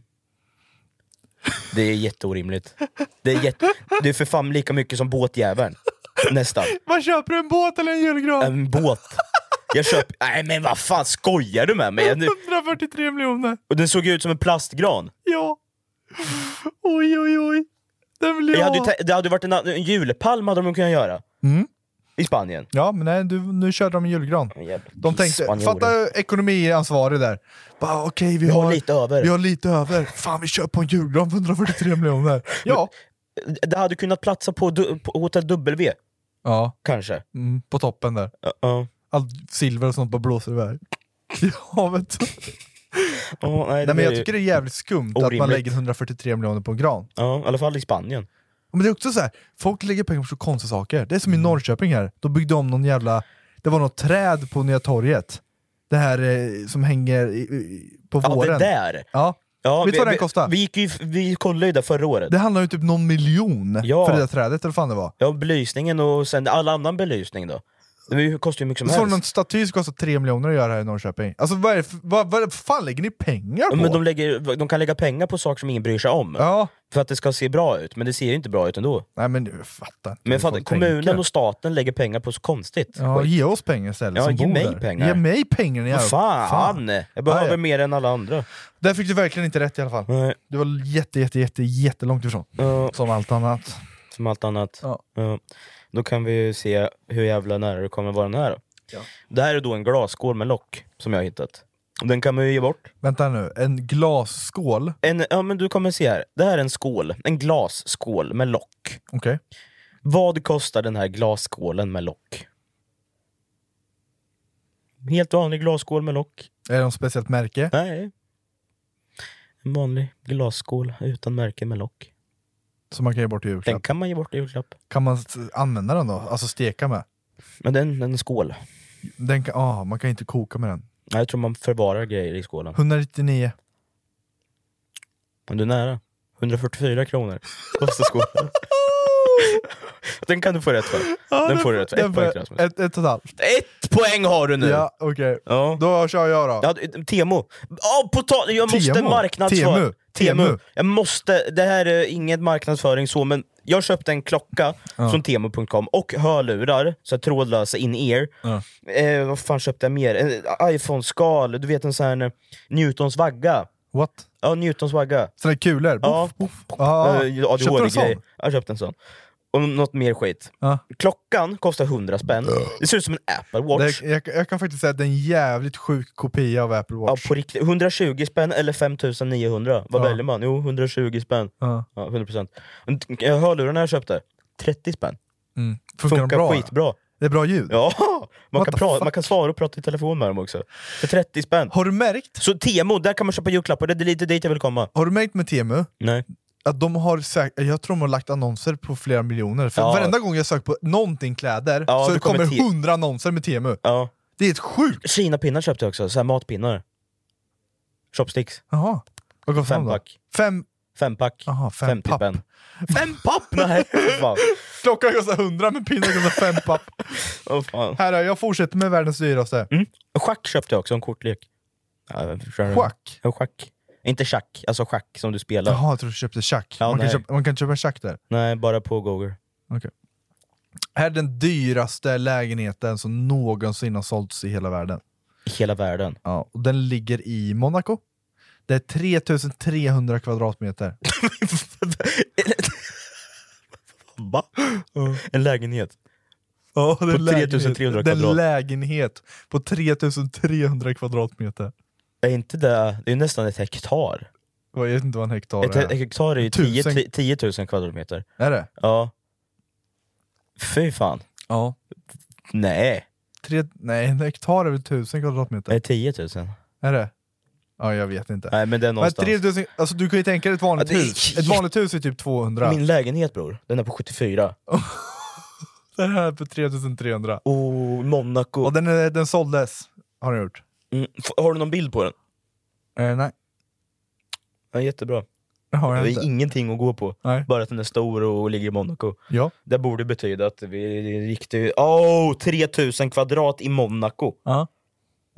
Det är jätteorimligt. Det är, jätte, det är för fan lika mycket som båtjäveln. Nästan. Vad köper du? En båt eller en julgran? En båt. Jag köper... Nej men vad fan skojar du med mig? Jag- 143 miljoner! Och den såg ju ut som en plastgran. Ja. Oj, oj, oj. Den vill jag, Jag hade ju ha. tä- det hade ju varit en, annan- en julpalm hade de kunnat göra. Mm. I Spanien. Ja, men nej, du, nu körde de en julgran. Jävla De tänkte, spanjorer. fatta ekonomiansvarig där. Bara okej, vi, har har lite över. Vi har lite över. Fan, vi köper en julgran för 143 miljoner. Ja. Det hade kunnat platsa på, du- på Hotell W, Ja, kanske. mm, på toppen där. Ja, ja. Allt silver och sånt bara blåser iväg. Ja, vet du. Ja, nej, det Nej, men jag blir ju- tycker det är jävligt skumt att Orimligt. man lägger 143 miljoner på en gran. Ja, i alla fall i Spanien. Men det är också så här, folk lägger pengar på så konstiga saker. Det är som i Norrköping här, de byggde om någon jävla, det var något träd på Nya torget. Det här eh, som hänger i, i, på Ja, våren. det där! Ja. Ja, Vet du vad den vi, kostar? Vi, gick ju, vi kollade ju det förra året. Det handlar ju typ någon miljon Ja. för det där trädet, eller vad fan det var. Ja, belysningen och sen all annan belysning då. Det kostar ju mycket som Jag såg någon helst. staty som kostar 3 miljoner att göra här i Norrköping. Alltså vad, är, det för- vad, vad fan lägger ni pengar på? Men de, lägger, de kan lägga pengar på saker som ingen bryr sig om, Ja, för att det ska se bra ut, men det ser ju inte bra ut ändå. nej men jag fattar inte hur Men fatta, folk kommunen tänker. och staten lägger pengar på så konstigt. Ja, Skit. ge oss pengar istället Ja, som ge bor mig där. pengar. Ge mig pengar ni Vad jävla- fan! Jag behöver Nej. mer än alla andra. Där fick du verkligen inte rätt i alla fall. Nej, Du var jätte, jätte, jätte, jättelångt ifrån. ja, Som allt annat. som allt annat. Ja. Ja. Då kan vi ju se hur jävla nära du kommer vara den här. Det här är då en glasskål med lock som jag har hittat. Den kan man ju ge bort. Vänta nu, en glasskål? En, ja, men du kommer se här. Det här är en skål. En glasskål med lock. Okej. Vad kostar den här glasskålen med lock? Helt vanlig glasskål med lock. Är det något speciellt märke? Nej. En vanlig glasskål utan märke med lock. Som man kan ge bort i Den julklapp? kan man ge bort i julklapp. Kan man s- använda den då? Alltså steka med? Men den, den är en skål. Den kan, ah, man kan inte koka med den. Nej, Jag tror man förvarar grejer i skålen. 199. Men du är nära. 144 kronor kostar skålen. den kan du få rätt för. den får du rätt för. Ett poäng till Rasmus. Ett, ett och ett halvt. Ett poäng har du nu! Ja, okej. Ja. Då kör jag då. Ja, d- Temo! Ja, på tal- jag måste Temo. marknadsföra... Temu. Temu. Jag måste, det här är ingen marknadsföring så, men jag köpte en klocka från Temo.com och hörlurar, så här trådlösa in-ear. Eh, vad fan köpte jag mer? En iPhone-skal, du vet en sån här eh, Newtons vagga. What? Ja, Newtons vagga. Sådana kulor? Ja. Boff, boff. Ah. Eh, Köpte du en sån? ADHD-grej. Jag köpte en sån. Och något mer skit. Ja. Klockan kostar 100 spänn. Det ser ut som en Apple Watch. Det, jag, jag kan faktiskt säga att det är en jävligt sjuk kopia av Apple Ja, Watch. på riktigt. 120 spänn eller 5900? Vad Ja. väljer man? Jo, 120 spänn. Ja. Ja, 100%. Men t- Hörlurarna jag köpte, 30 spänn. Mm. Funkar, Funkar, de bra? skitbra. Det är bra ljud? Ja! Man What kan, the pra- fuck? man kan svara och prata i telefon med dem också. För 30 spänn. Har du märkt Så Temo, där kan man köpa julklappar. Det är lite dit jag vill komma. Har du märkt med Temu Nej. att de har säk- jag tror de har lagt annonser på flera miljoner, för Ja. varenda gång jag söker på någonting kläder Ja, så då det kommer kommer Te- hundra annonser med Temu. Ja. Det är helt sjukt! Kinapinnar köpte jag också, så här matpinnar. Chopsticks. Jaha. Vad kostar de då? Fempack. Fem, Fempack. aha, fem 50 papp. spänn. Fem papp? Nej, fy fan. Klockan kostar hundra men pinnen kostar fem papp. Åh, fan. Här är jag fortsätter med världens dyraste. Mm. Schack köpte jag också, en kortlek. Ja, jag förstår. Schack. Ja, schack. Inte schack, alltså schack som du spelar. Jaha, jag tror du köpte schack. Ja, man, kan nej. köpa, man kan köpa schack där. Nej, bara på Google. Här är den dyraste lägenheten som någonsin har sålts i hela världen. I hela världen. Ja, och den ligger i Monaco. Det är 3300 kvadratmeter. Va? En lägenhet? Ja, det är På en lägenhet. 3300 Det är kvadrat. en lägenhet på 3300 kvadratmeter. Är inte det, det är nästan ett hektar. Jag vet inte vad en hektar Ett, he- är. hektar är ju 10, Tusen. 10 000 kvadratmeter. Är det? Ja. Fy fan. Ja. Nej, Tre, nej, en hektar är väl 1000 kvadratmeter? det är 10 000. Är det? Ja, jag vet inte. Nej men det är Men någonstans. 3000, alltså du kan ju tänka dig ett vanligt Ja, det är hus. jätte- Ett vanligt hus är typ 200. Min lägenhet bror, den är på 74. Den här är på 3300. Oh, Monaco. Och den, är- den såldes, har den gjort. Mm. f- Har du någon bild på den? Eh, nej, Ja, jättebra. det har jag Det är inte. ingenting att gå på. Nej. Bara att den är stor och ligger i Monaco. Ja. Det borde betyda att vi gick till... Oh, 3000 kvadrat i Monaco! Ja.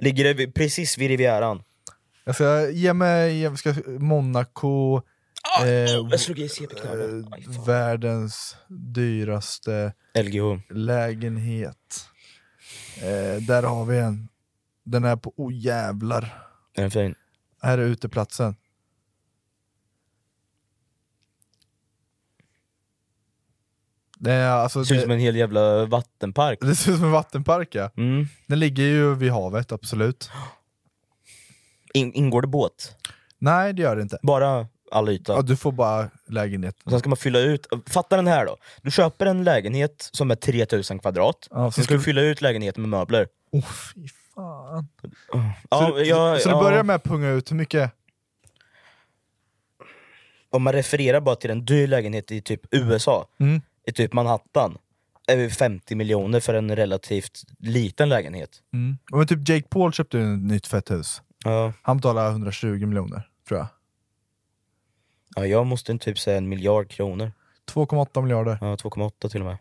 Ligger det vid- precis vid Rivieran. Alltså, Jag ska ge mig jag ska, Monaco, Ah, eh, Jag slog i CP-knappen. Aj, eh, fan. världens dyraste LGH. lägenhet. Eh, där har vi en. Den är på, oh jävlar. Är den fin? Här är uteplatsen. Det, är, alltså, Det ser ut som det, en hel jävla vattenpark. det ser ut som en vattenpark ja. Mm. Den ligger ju vid havet, absolut. In, ingår det båt? Nej det gör det inte. Bara all Ja, yta. du får bara lägenhet. Och sen ska man fylla ut... Fatta den här då. Du köper en lägenhet som är 3000 kvadrat. Ja, så sen ska du ska- fylla ut lägenheten med möbler. Oh, fy fan. Ja, så du, jag- så du ja. börjar med att punga ut hur mycket? om man refererar bara till en dyr lägenhet i typ USA, Mm. i typ Manhattan, är det 50 miljoner för en relativt liten lägenhet. Mm. Ja, Men typ Jake Paul köpte ju ett nytt fett hus. Ja. Han betalade 120 miljoner, tror jag. ja, jag måste typ säga en miljard kronor. 2,8 miljarder. Ja, 2,8 till och med.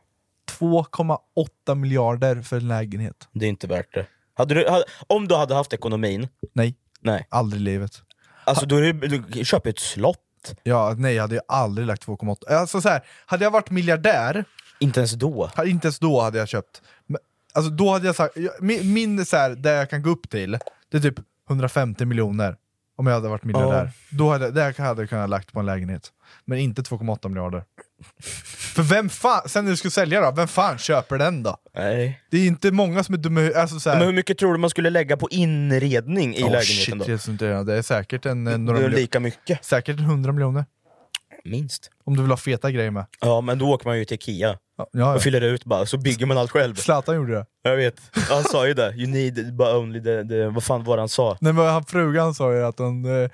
2,8 miljarder för en lägenhet. Det är inte värt det. Hade du, hade, om du hade haft ekonomin, Nej, nej. aldrig i livet. Alltså då är det, du köper ett slott. Ja, nej, jag hade ju aldrig lagt 2,8. Alltså så här, hade jag varit miljardär, Inte ens då. ha- inte ens då hade jag köpt. Men, Alltså då hade jag sagt, jag- min, min så här, där jag kan gå upp till, det är typ 150 miljoner. Om jag hade varit miljardär. Då hade, där hade jag kunnat lagt på en lägenhet. Men inte 2,8 miljarder. För vem fan, sen när du skulle sälja då, vem fan köper den då? Nej. Det är inte många som är dumma i huvudet, alltså så här, Men hur mycket tror du man skulle lägga på inredning i Åh, lägenheten shit, jag skulle inte göra Det Det är säkert en, eh, då? några Det är miljoner. lika mycket. Säkert 100 miljoner. Minst. Om du vill ha feta grejer med. Ja, men då åker man ju till Ikea Ja, ja. och fyller ut bara, så bygger man allt själv. Zlatan gjorde det. Jag vet. Ja, Han sa ju det, you need but only the, the... Vad fan var det han sa? Nej, men han, frugan sa ju att hon, eh,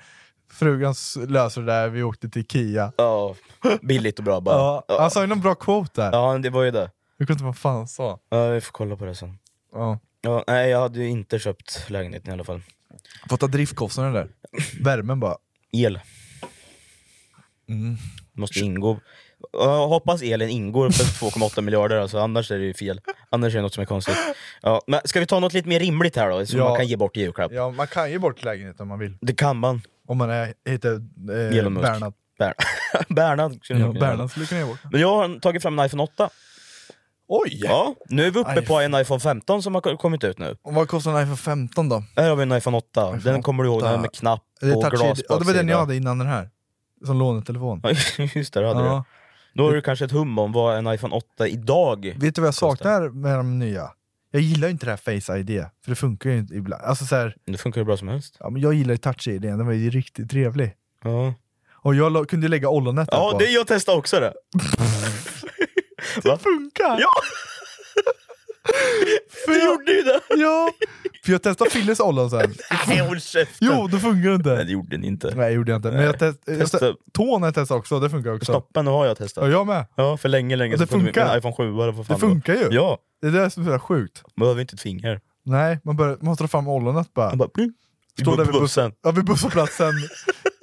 frugan s- löser det där, vi åkte till Kia. Ja, billigt och bra bara. Ja, Ja, han sa ju någon bra quote där. ja det var ju det. Jag kunde inte vad fan han sa. Ja, vi får kolla på det sen. Ja. Ja, nej, jag hade ju inte köpt lägenheten i alla fall. Får ta driftkostnaden där. Värmen bara. El. Mm. Måste ingå. Jag hoppas elen ingår för 2,8 miljarder, alltså, annars är det ju fel. Annars är det något som är konstigt. Ja, men ska vi ta något lite mer rimligt här då, så Ja. man kan ge bort i julklapp? Ja, man kan ju bort lägenheten om man vill. Det kan man. Om man är, heter eh, Elon Musk. Bernhard. Ber- Bernhard. skulle Ja, man kunna göra. Bernhard skulle kunna ge bort. Men jag har tagit fram en iPhone 8. Oj! Ja, nu är vi uppe iPhone. på en iPhone 15 som har ko- kommit ut nu. Och vad kostar en iPhone 15 då? Här har vi en iPhone 8. den kommer du ihåg, den med knapp Det och är touch glas ja, det var den jag baksida. hade innan den här. Som lånetelefon. Ja, Just det, det hade Ja. du. Då har du kanske ett hum om vad en iPhone 8 idag... Vet du vad jag saknar med de nya? Jag gillar ju inte det här Face ID, för det funkar ju inte ibland. Alltså så här, Det funkar hur bra som helst. ja, men jag gillar ju Touch ID, den var ju riktigt trevlig. Ja, Och jag la, kunde ju lägga ollonet där ja på. det, jag testade också det. Va? funkar! Ja! Du gjorde ju det! ja! För jag testade Filles ollon sen. Nej, håll käften! Jo, det funkar Nej, det inte. gjorde ni inte. Nej, det gjorde jag inte. Men jag test, jag Testa. test, tån har jag testat också, det funkar också. Snoppen har jag Ja, testat. jag med. Ja, för länge, länge Och det sedan tog vi- funkar. Min iPhone 7 eller vad fan Det funkar var. ju. Ja, Det är det som är så sjukt. man behöver inte ett finger. Nej, man, börjar, man måste ta fram ollonet bara. Man bara... pling. Står där på vid bussen. Ja, vid busshållplatsen.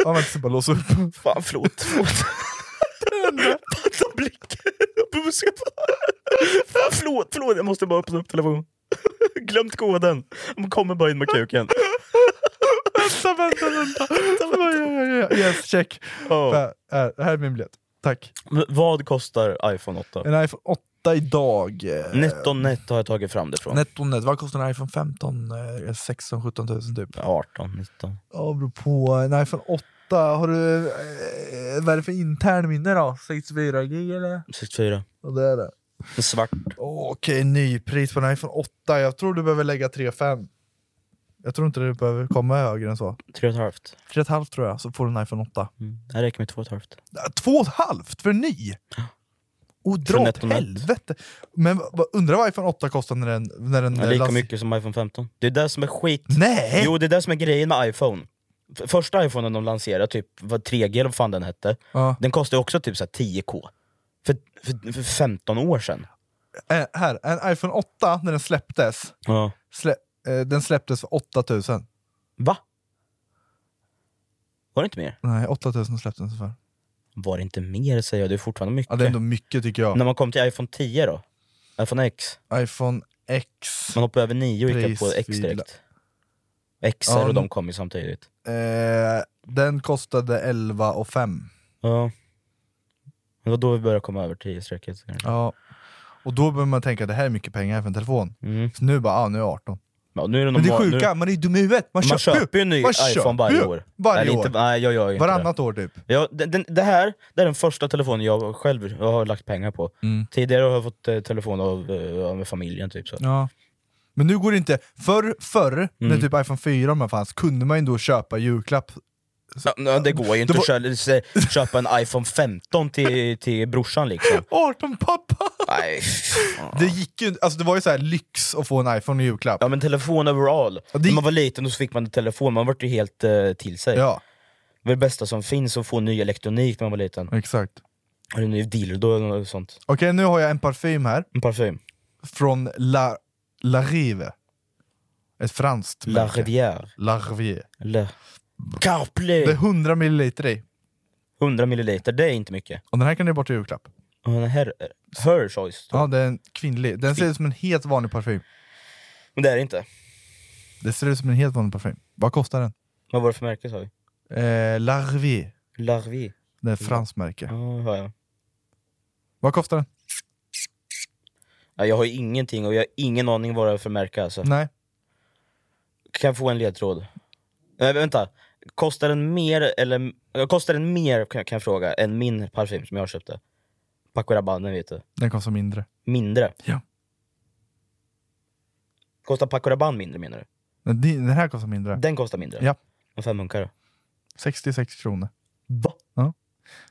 Man väntar bara låsa upp. Fan, förlåt. förlåt. Fatta blicken. Buska på. Fan, förlåt, förlåt. Jag måste bara öppna upp telefonen. Glömt koden. De kommer bara in med kuken. vänta, vänta, vänta. Ja, ja, ja, ja. Yes, check. Ja. Här, här, här är min biljett. Tack. Men Vad kostar iPhone 8? En iPhone 8 idag. eh, Netto net har jag tagit fram det från. Netto net. Vad kostar en iPhone eh, 15? 16-17 tusen typ. 18, 19. Ja, beror på. En iPhone 8. Har du, eh, vad är det för intern minne då? 64G eller? 64. Ja, det är det. En Svart. Åh, Okej, nypris på en iPhone 8. Jag tror du behöver lägga 3,5. Jag tror inte du behöver komma högre än så. 3,5. 3,5 tror jag, så får du en iPhone 8. Mm. Det här räcker med 2,5. Två och ett halvt för en ny? Och dra För åt nett och nett. helvete! Men vad- vad- undrar vad iPhone 8 kostar när den... När den Ja, lika las- mycket som iPhone 15. Det är det som är skit. Nej! Jo, det är det som är grejen med iPhone. F- Första iPhonen de lanserade, typ vad 3G eller vad fan den hette, Ja. den kostade också typ så här 10K. För, för, för 15 år sedan. Eh, här, en iPhone 8 när den släpptes, Ja. slä, eh, den släpptes för 8000. Va? Var det inte mer? Nej, 8000 släpptes den för. Var det inte mer säger jag, det är fortfarande mycket. Ja, det är ändå mycket tycker jag. När man kom till iPhone 10 då? iPhone X? iPhone X. Man hoppade över 9 och gick på X Prisfila- direkt. XR Ja, och nu- de kom ju samtidigt. Eh, den kostade 11 och 5. Ja. Det var då vi började komma över 10-strecket. Ja. Och då börjar man tänka att det här är mycket pengar för en telefon. Mm. Så nu bara, ah, nu är jag 18. Ja, nu är det Men det är normal- sjuka, man är ju dum i huvudet! Man, Man, köper, ju en ny man köper iPhone varje ju år. Varje Eller år. Inte, nej, jag gör ju inte det. Varannat år typ. Ja, den, den, det här det är den första telefonen jag själv har lagt pengar på. Mm. Tidigare har jag fått eh, telefon av eh, med familjen. typ så. Ja. Men nu går det inte. Förr, förr Mm. när typ iPhone 4 om den fanns, kunde man ju då köpa julklapp. Ja, nej, det går ju inte Det att kö- köpa en iPhone 15 till, till brorsan liksom. 18 pappa! Nej, fan. Det gick ju inte- alltså det var ju så här lyx att få en iPhone i julklapp. Ja men telefon overall. Ja, det- När man var liten då så fick man en telefon, man vart ju helt eh, till sig. Ja, Det var det bästa som finns att få ny elektronik när man var liten. exakt. Eller en ny dildo eller något sånt. Okej, nu har jag en parfym här. En parfym. Från La, La Rive. Ett franskt La märke. Rivière. La Rivière. Eller... Det är Carplay! 100 milliliter i. 100 milliliter, det är inte mycket. Och den här kan du ge bort i julklapp. Och den här, her choice. tror Ja, jag. det är en kvinnlig. Den ser ut som en helt vanlig parfym. Men det är det inte. Det ser ut som en helt vanlig parfym. Vad kostar den? Vad var det för märke sa vi? Eh, Larvie. Larvi. Det är ett franskt märke. Ja, det har jag. Vad kostar den? Ja, jag har ju ingenting och jag har ingen aning vad det är för märke alltså. Nej. Kan jag få en ledtråd? Nej, vänta. Kostar den mer, eller, eh, kostar den mer kan jag, kan jag fråga, än min parfym som jag köpte? Paco Rabanne vet du. Den kostar mindre. Mindre. Ja. Kostar Paco Rabanne mindre menar du? Den, den här kostar mindre. Den kostar mindre? Ja. Och fem munkar då? 66 kronor. Va? Ja.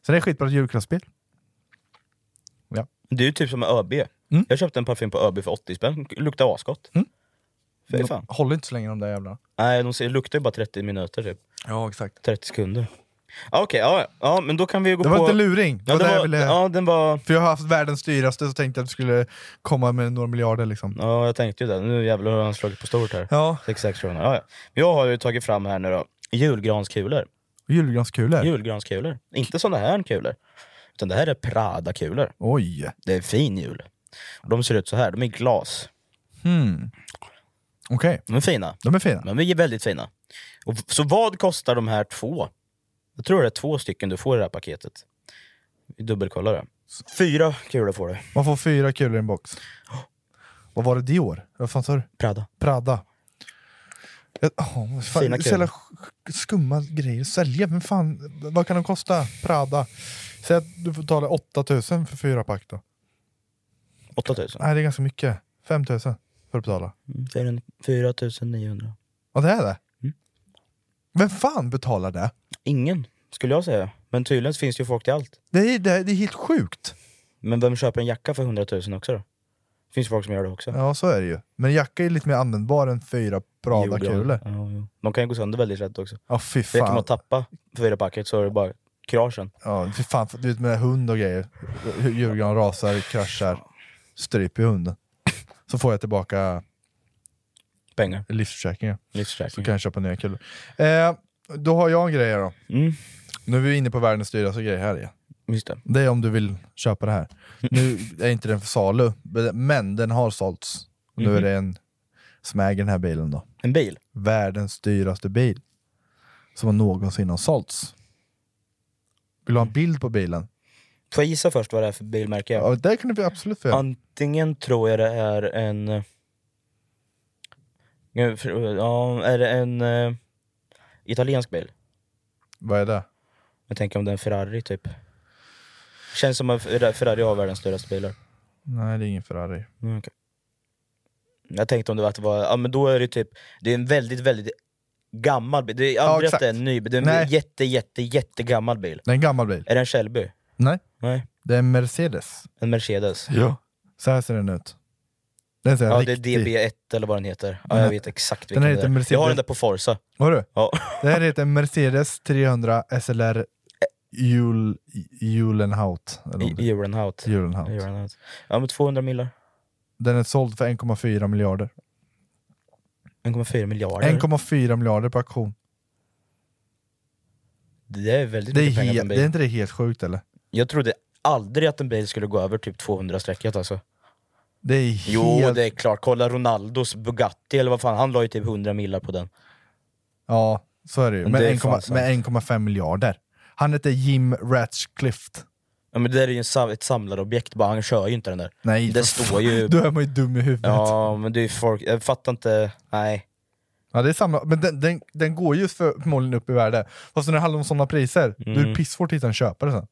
Så det är skitbra julklappsspel. Du är typ som med ÖB. Mm. Jag köpte en parfym på ÖB för 80 spänn, luktar asgott. Mm. Fy fan. De Håller inte så länge de där jävlarna. Nej, de ser- luktar ju bara 30 minuter typ. Ja, exakt. 30 sekunder. Ja, Okej, ja, ja, men då kan vi ju gå Det var på... inte luring. Det Ja, var den det jag var, ville... ja, den var... För jag har haft världens dyraste så tänkte jag att du skulle komma med några miljarder liksom. Ja, jag tänkte ju det. Nu jävlar har han slagit på stort här. Ja, 66 kronor. Ja, ja. Men Jag har ju tagit fram här nu då, julgranskulor. och julgranskulor. Julgranskulor. Inte sådana här kulor. Utan det här är Prada-kulor. Oj! Det är fin jul. Och de ser ut så här. De är i glas. Hmm. Okej, De är fina. de är fina. De är väldigt fina. Och, så vad kostar de här två? Jag tror det är två stycken du får i det här paketet. Vi dubbelkollar det. Fyra kulor får du. Man får fyra kulor i en box. Vad var det Dior? Vad fan sa du? Prada. Prada. Jag, oh, fan, Fina Fina kulor. kulor. skumma grejer att sälja. Men fan, vad kan de kosta? Prada. Säg att du får betala 8000 för fyra pack då. 8000. Nej, det är ganska mycket. 5000 för att betala. 4900. Ja, det är det? Mm. Vem fan betalar det? Ingen, skulle jag säga. Men tydligen finns det ju folk till allt. Det är, det, är- det är helt sjukt. Men vem köper en jacka för 100 000 också då? finns folk som gör det också. Ja, så är det ju. Men jacka är lite mer användbar än fyra Jordgran. Prada-kulor. Ja, jo. De kan ju gå sönder väldigt lätt också. Ja, fy För kan man fan. tappa fyra packet så är det bara kraschen. Ja, fy fan. Du vet med hund och grejer. Djurgården rasar, kraschar, stryper ju hunden. Så får jag tillbaka Pengar, livsförsäkringen. Så livsförsäkring. kan jag köpa nya kulor. Eh, då har jag en grej här då. Mm, Nu är vi inne på världens dyraste grej här igen. just det. Det är om du vill köpa det här. Nu är inte den för salu, men den har sålts. Och Mhm. Nu är det en som äger den här bilen då. En bil. världens dyraste bil som någonsin har sålts. Vill du ha en bild på bilen? Får jag gissa först vad det är för bilmärke? Ja, det kan du absolut få göra. Antingen tror jag det är en... eh, Ja, är det en eh, italiensk bil? Vad är det? Jag tänker om det är en Ferrari typ. Känns som att Ferrari har världens dyraste bilar. Nej, det är ingen Ferrari. Mm, okej. Jag tänkte om det var att det var, ja men då är det typ, det är en väldigt väldigt gammal bil. Det är Ja, aldrig att exakt. det är en ny bil, det är en Nej. jätte jätte jättegammal bil. Det är en gammal bil. Är det en Shelby? Nej, Nej, det är en Mercedes. en Mercedes. Ja. Så här ser den ut. Den ser Ja det är riktig. DB1 eller vad den heter. Ja, jag Nej. vet exakt Den vilken heter det är. Mercedes. Jag har den där på Forza. Vad du? Ja. Det här heter Mercedes 300 SLR Jul... Julenhaut. eller I- någonting. Euronhaut. Julenhaut. Euronhaut. Ja men 200 millar. Den är såld för 1,4 miljarder. 1,4 miljarder. 1,4 miljarder på auktion. det är väldigt Det är, mycket pengar för en helt, det bil. är inte det helt sjukt eller? Jag trodde aldrig att en bil skulle gå över typ 200-strecket alltså. Det är helt... Jo det är klart, kolla Ronaldos Bugatti eller vad fan, han la ju typ 100 millar på den. Ja, så är det ju. Men Med det är 1,5 fan med 1,5 miljarder. Han heter Jim Ratchcliffe. Ja men det där är ju en, sam- ett samlarobjekt bara, han kör ju inte den där. Nej, det för står fan. ju... Då är man ju dum i huvudet. Ja. Ja men det är ju folk, jag fattar inte, nej. det är samma, men den, den, den går ju för- förmodligen upp i värde. Fast när det handlar om sådana priser, då Mm. är det pissvårt att hitta en köpare sen.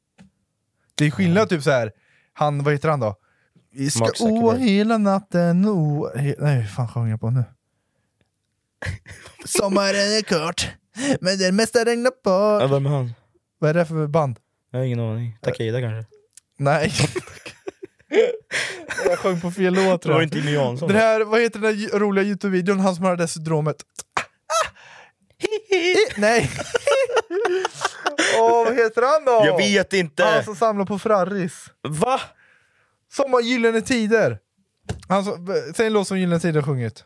Det är skillnad typ så här. han, vad heter han då? Vi ska Mark Zuckerberg. å hela natten, å... He, nej, hur fan sjöng jag på nu? Sommaren är kort, men det mesta regnar Ja, bort. vem är han? Vad är det för band? Jag har ingen aning. Takida kanske? Nej. jag sjöng på fel låt Tror du inte Jimmy Jansson? Den här, vad heter den där ju- roliga Youtube-videon, han som har det där syndromet? Ah, ah. I- Nej! Åh, vad heter han då? Jag vet inte! Han som samlar på Ferraris. Va? Sommar Gyllene Tider! Han som, eh, säg en låt som Gyllene Tider sjungit.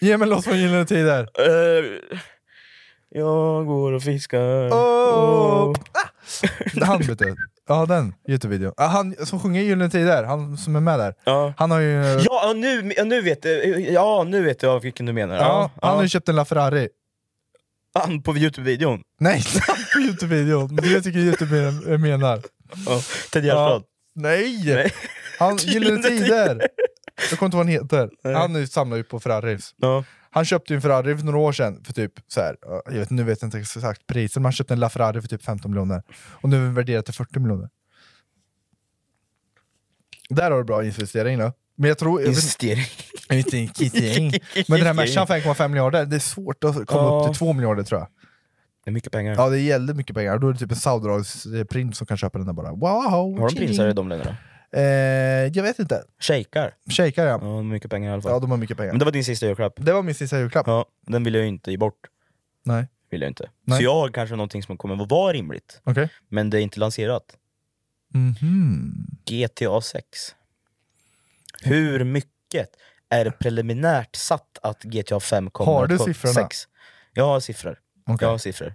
Ge mig en låt från Gyllene Tider. Eh, jag går och fiskar. Åh. Åh. Ah. Han vet du. Ja den Youtube-videon. Ja, Han som sjunger Gyllene Tider, han som är med där. Ja. Han har ju... Ja, Ja, nu, ja, nu vet jag, ja, nu vet jag vilken du menar. Ja, han har ja. ju köpt en LaFerrari. Han på Youtube-videon. Nej, på Youtube-videon. Men Det tycker Youtube jag menar. Ja. Ted Gärdestad. Nej! Nej. Han, Gyllene Gyllene Tider! Jag kommer inte ihåg vad han heter. Nej. Han nu samlar ju på Ferraris. Ja. Han köpte ju en Ferrari för några år sedan för typ, så här, ja, jag vet, nu vet jag inte exakt priset, men han köpte en LaFerrari för typ 15 miljoner. Och nu är den värderad till 40 miljoner. Där har du bra investering då. Men jag tror... jag vet- Investering. jag vet inte, kittering. Men den här matchen 5,5 miljarder, det är svårt att komma Ja. upp till 2 miljarder tror jag. Det är mycket pengar. Ja det gäller mycket pengar, då är det typ en saudiarabisk prins som kan köpa den där bara. Wow! Har de prinsar i de länderna? Eh, jag vet inte. Shejkar. Shejkar Ja, ja. de har mycket pengar i alla fall. Ja, de har mycket pengar. Men det var din sista julklapp. Det var min sista julklapp. Ja, den vill jag ju inte ge bort. Nej. Vill jag inte. Nej. Så jag har kanske någonting som kommer att vara rimligt, Okej. men det är inte lanserat. Mhm. GTA 6. Hur mycket är preliminärt satt att GTA 5 kommer Har att du ko- siffrorna? Sex. Jag har siffror. Okej. Jag har siffror.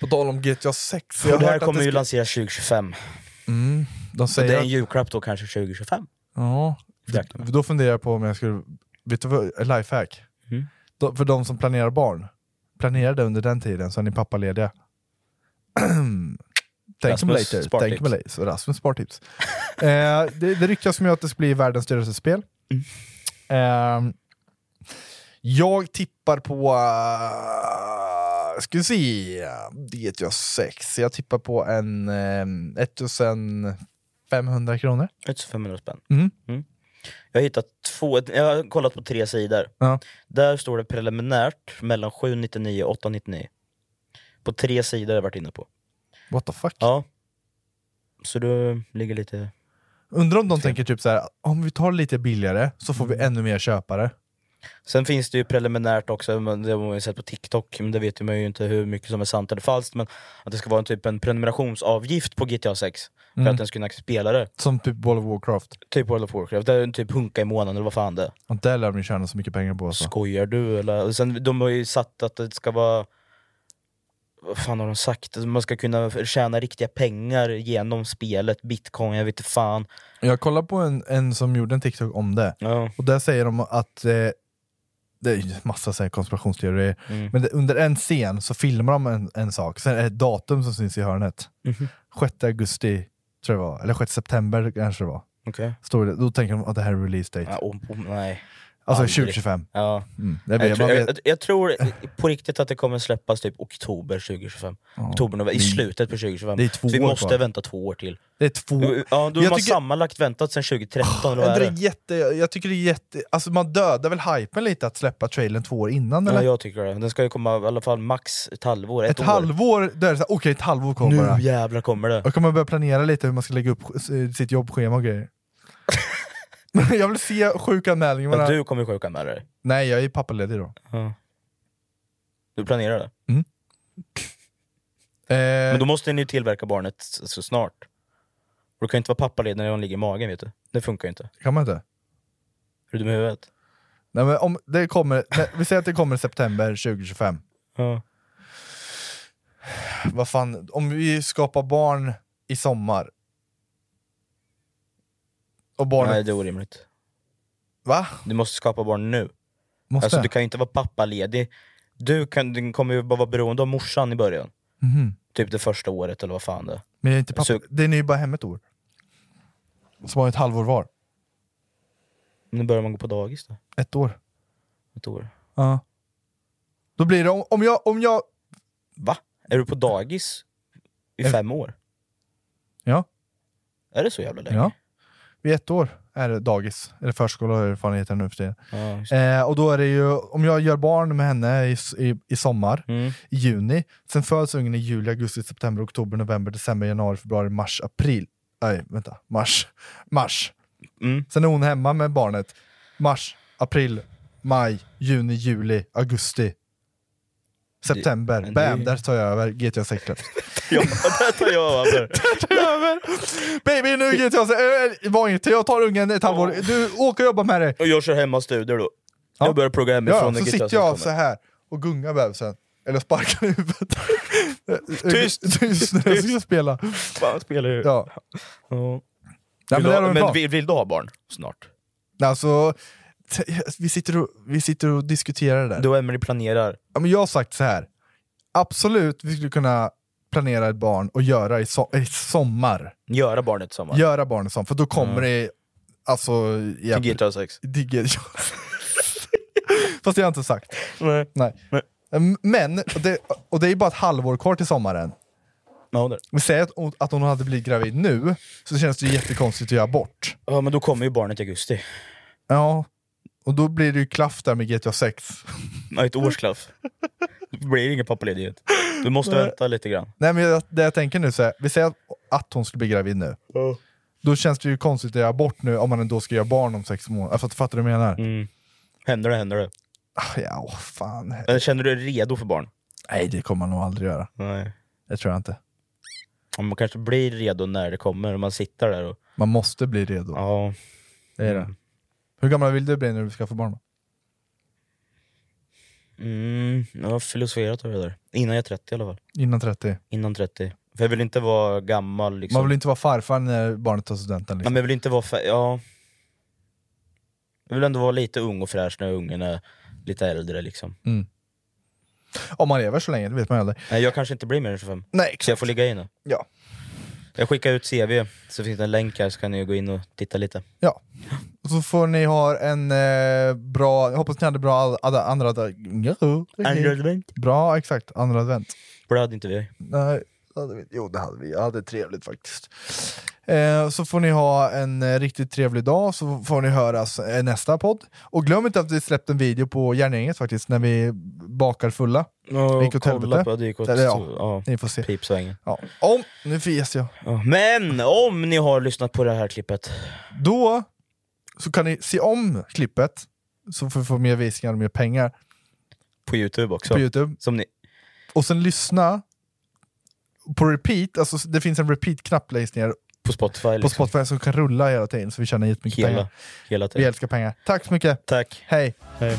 På tal om GTA 6, Och det här kommer ju lanseras 2025. Mm, de Så det säger är att... en julklapp då kanske 2025. Ja. Exakt. Då funderar jag på om jag skulle... Vet du vad? Lifehack. Mm. Då- För de som planerar barn, planera det under den tiden så är ni pappalediga. Tänk om Rasmus later. spartips. Tänk om later. Rasmus spartips. eh, det, det ryktas om att det ska bli världens dyraste spel. Mm. Ehm, jag tippar på... eh, ska vi se. GTA 6. Jag tippar på en ehm, 1500 kronor. 1500 spänn. Mm. Jag har hittat två, jag har kollat på tre sidor. Ja. Där står det preliminärt mellan 799 och 899. På tre sidor har jag varit inne på. What the fuck? Ja. Så du ligger lite... Undrar om de tänker typ så här, om vi tar lite billigare så får vi ännu mer köpare. Sen finns det ju preliminärt också, men det har man ju sett på TikTok, men det vet man ju inte hur mycket som är sant eller falskt, men att det ska vara en typ en prenumerationsavgift på GTA 6 för att den ska kunna spela det. Som typ World of Warcraft. Typ World of Warcraft, det är en typ hunka i månaden eller vad fan det är. Och där lär de ju tjäna så mycket pengar på. Alltså. Skojar du eller? Och Sen, de har ju satt att det ska vara... Vad fan har de sagt? Man ska kunna tjäna riktiga pengar genom spelet, bitcoin, jag vet inte fan. Jag kollade på en, en som gjorde en TikTok om det, Ja. och där säger de att eh, det är ju massa så här konspirationsteorier, Mm. men det, under en scen så filmar de en, en sak, sen är det ett datum som syns i hörnet. Mhm. 6 augusti, tror jag det var, eller 6 september kanske det var. Okej. Står det, då tänker de att det här är release date. Ja, och, och, nej. alltså aldrig. 2025. Ja. Mm. Jag vet, Jag, tror, man vet. jag, jag tror på riktigt att det kommer släppas typ oktober 2025. Oktober, november, I slutet på 2025. Det är två Så vi år måste kvar. vänta två år till. det är två... Ja, då har Jag man tycker- sammanlagt väntat sedan 2013. eller Men vad är det är det? jätte, jag tycker det är jätte... Alltså man dödar väl hypen lite att släppa trailern två år innan Ja, eller? jag tycker det. Den ska ju komma i alla fall max ett halvår, ett, ett år. halvår, där är det såhär, okej ett halvår kommer bara. Nu jävlar kommer det. Då kan man börja planera lite hur man ska lägga upp eh, sitt jobbschema och grejer. jag vill se sjukanmälningarna. Men du kommer sjukanmäla dig. Nej, jag är pappaledig då. Du planerar det. Eh, Men då måste ni ju tillverka barnet s- så snart. Och Du kan ju inte vara pappaledig när hon ligger i magen vet du. Det funkar ju inte. Kan man inte? Är du dum i huvudet? Nej, men om det kommer, nej, vi säger att det kommer i september 2025. Ja. Vad fan, om vi skapar barn i sommar. Och barnet... Nej det är orimligt. Va? Du måste skapa barn nu. Måste Alltså jag? du kan ju inte vara pappaledig. Du, kan, du kommer ju bara vara beroende av morsan i början. Mhm. Typ det första året eller vad fan det är. Men jag är inte pappa. Så- Den är ju bara hemma ett år. Som har ett halvår var. Nu börjar man gå på dagis då. Ett år. Ett år. Ja. Då blir det, om, om jag, om jag... Va? Är du på dagis i Är- fem år? Ja. Är det så jävla länge? ja. Vid ett år är det dagis. Eller förskola eller vad fan det heter nu för tiden. Ja, just det. Eh, och då är det ju, om jag gör barn med henne i, i, i sommar, Mm. i juni. Sen föds ungen i juli, augusti, september, oktober, november, december, januari, februari, mars, april. Nej, vänta. Mars. Mars. Mm. Sen är hon hemma med barnet. Mars, april, maj, juni, juli, augusti. September. men det är Bam, ju- där tar jag över GTA 6 släpps. ja det tar jag över. Baby, nu GTA 6! Äh, var inte, jag tar ungen ett halvår. Du, åker och jobba med dig. Och jag kör hemma studier då. Ja. Jag börjar plugga hemifrån. Ja, när så gitarristen sitter jag kommer. så här och gungar bebisen. Eller sparkade i huvudet. Tyst! Tyst när jag ska Tyst. spela. Fan, spelar ju. Ja. Ja. Ja, men Vill du det ha- är de bra. men vill, vill du ha barn snart? Alltså, t- vi, sitter och, vi sitter och diskuterar det där. Du och Emelie planerar. Ja, men jag har sagt så här. absolut vi skulle kunna planera ett barn och göra i, so- i sommar. Göra barnet tillsammans. Göra barn i sommar, för då kommer det alltså, i Till GTA 6. digga. Fast det har jag inte sagt. Nej. Nej. Nej. Men, och det, och det är bara ett halvår kvar till sommaren. Ja, det. Men säg att, hon- att hon hade blivit gravid nu, så känns det ju jättekonstigt att göra bort. ja, men då kommer ju barnet i augusti. Ja, och då blir det ju klaff där med GTA 6. Ja, ett årsklaff. Det blir ju ingen pappaledighet. Du måste vänta lite grann. Nej men jag, det jag tänker nu, så här, vi säger att, att hon skulle bli gravid nu. Då känns det ju konstigt att göra bort nu om man ändå ska göra barn om sex månader. Fattar, fattar du vad jag menar? Händer det, händer det. Ah, Ja, åh, fan. Eller känner du dig redo för barn? Nej det kommer man nog aldrig göra. Nej. Det tror jag inte. Ja, man kanske blir redo när det kommer, och man sitter där och... Man måste bli redo. Ja. Det är det. Hur gammal vill du bli när du ska få barn? då? Mm, jag har filosoferat över det där. Innan jag är 30 i alla fall. Innan 30? Innan 30. För jag vill inte vara gammal liksom. Man vill inte vara farfar när barnet tar studenten. Nej, Liksom. men jag vill inte vara för... Ja. Jag vill ändå vara lite ung och fräsch när ungen är lite äldre liksom. Om man lever så länge, det vet man ju aldrig. Nej, jag kanske inte blir mer än 25. Nej, Så jag får ligga i nu. Ja. Jag skickar ut CV, så finns det en länk här så kan ni gå in och titta lite. Ja. Och så får ni ha en eh, bra, jag hoppas ni hade bra all, alla andra... Andra advent. Bra, exakt. Andra advent. Blöd inte vi. Nej, det hade vi, inte. jo det hade vi. Jag hade trevligt faktiskt. Eh, så får ni ha en eh, riktigt trevlig dag, så får ni höras eh, nästa podd. Och glöm inte att vi släppte en video på Järngänget faktiskt, när vi bakar fulla. Ja, gick åt helvete. på, det gick åt, Eller ja, ja. Ni får se. Pipsvängen. Ja. Om, nu fes jag. Ja. Men om ni har lyssnat på det här klippet, Då så kan ni se om klippet, så får vi få mer visningar och mer pengar på youtube också, på Youtube. som ni Och sen lyssna på repeat, alltså det finns en repeat-knapp längst ner på Spotify, på liksom. Spotify som kan rulla hela tiden, så vi tjänar jättemycket pengar. hela, hela Vi tiden. älskar pengar. Tack så mycket. Tack. Hej. Hej.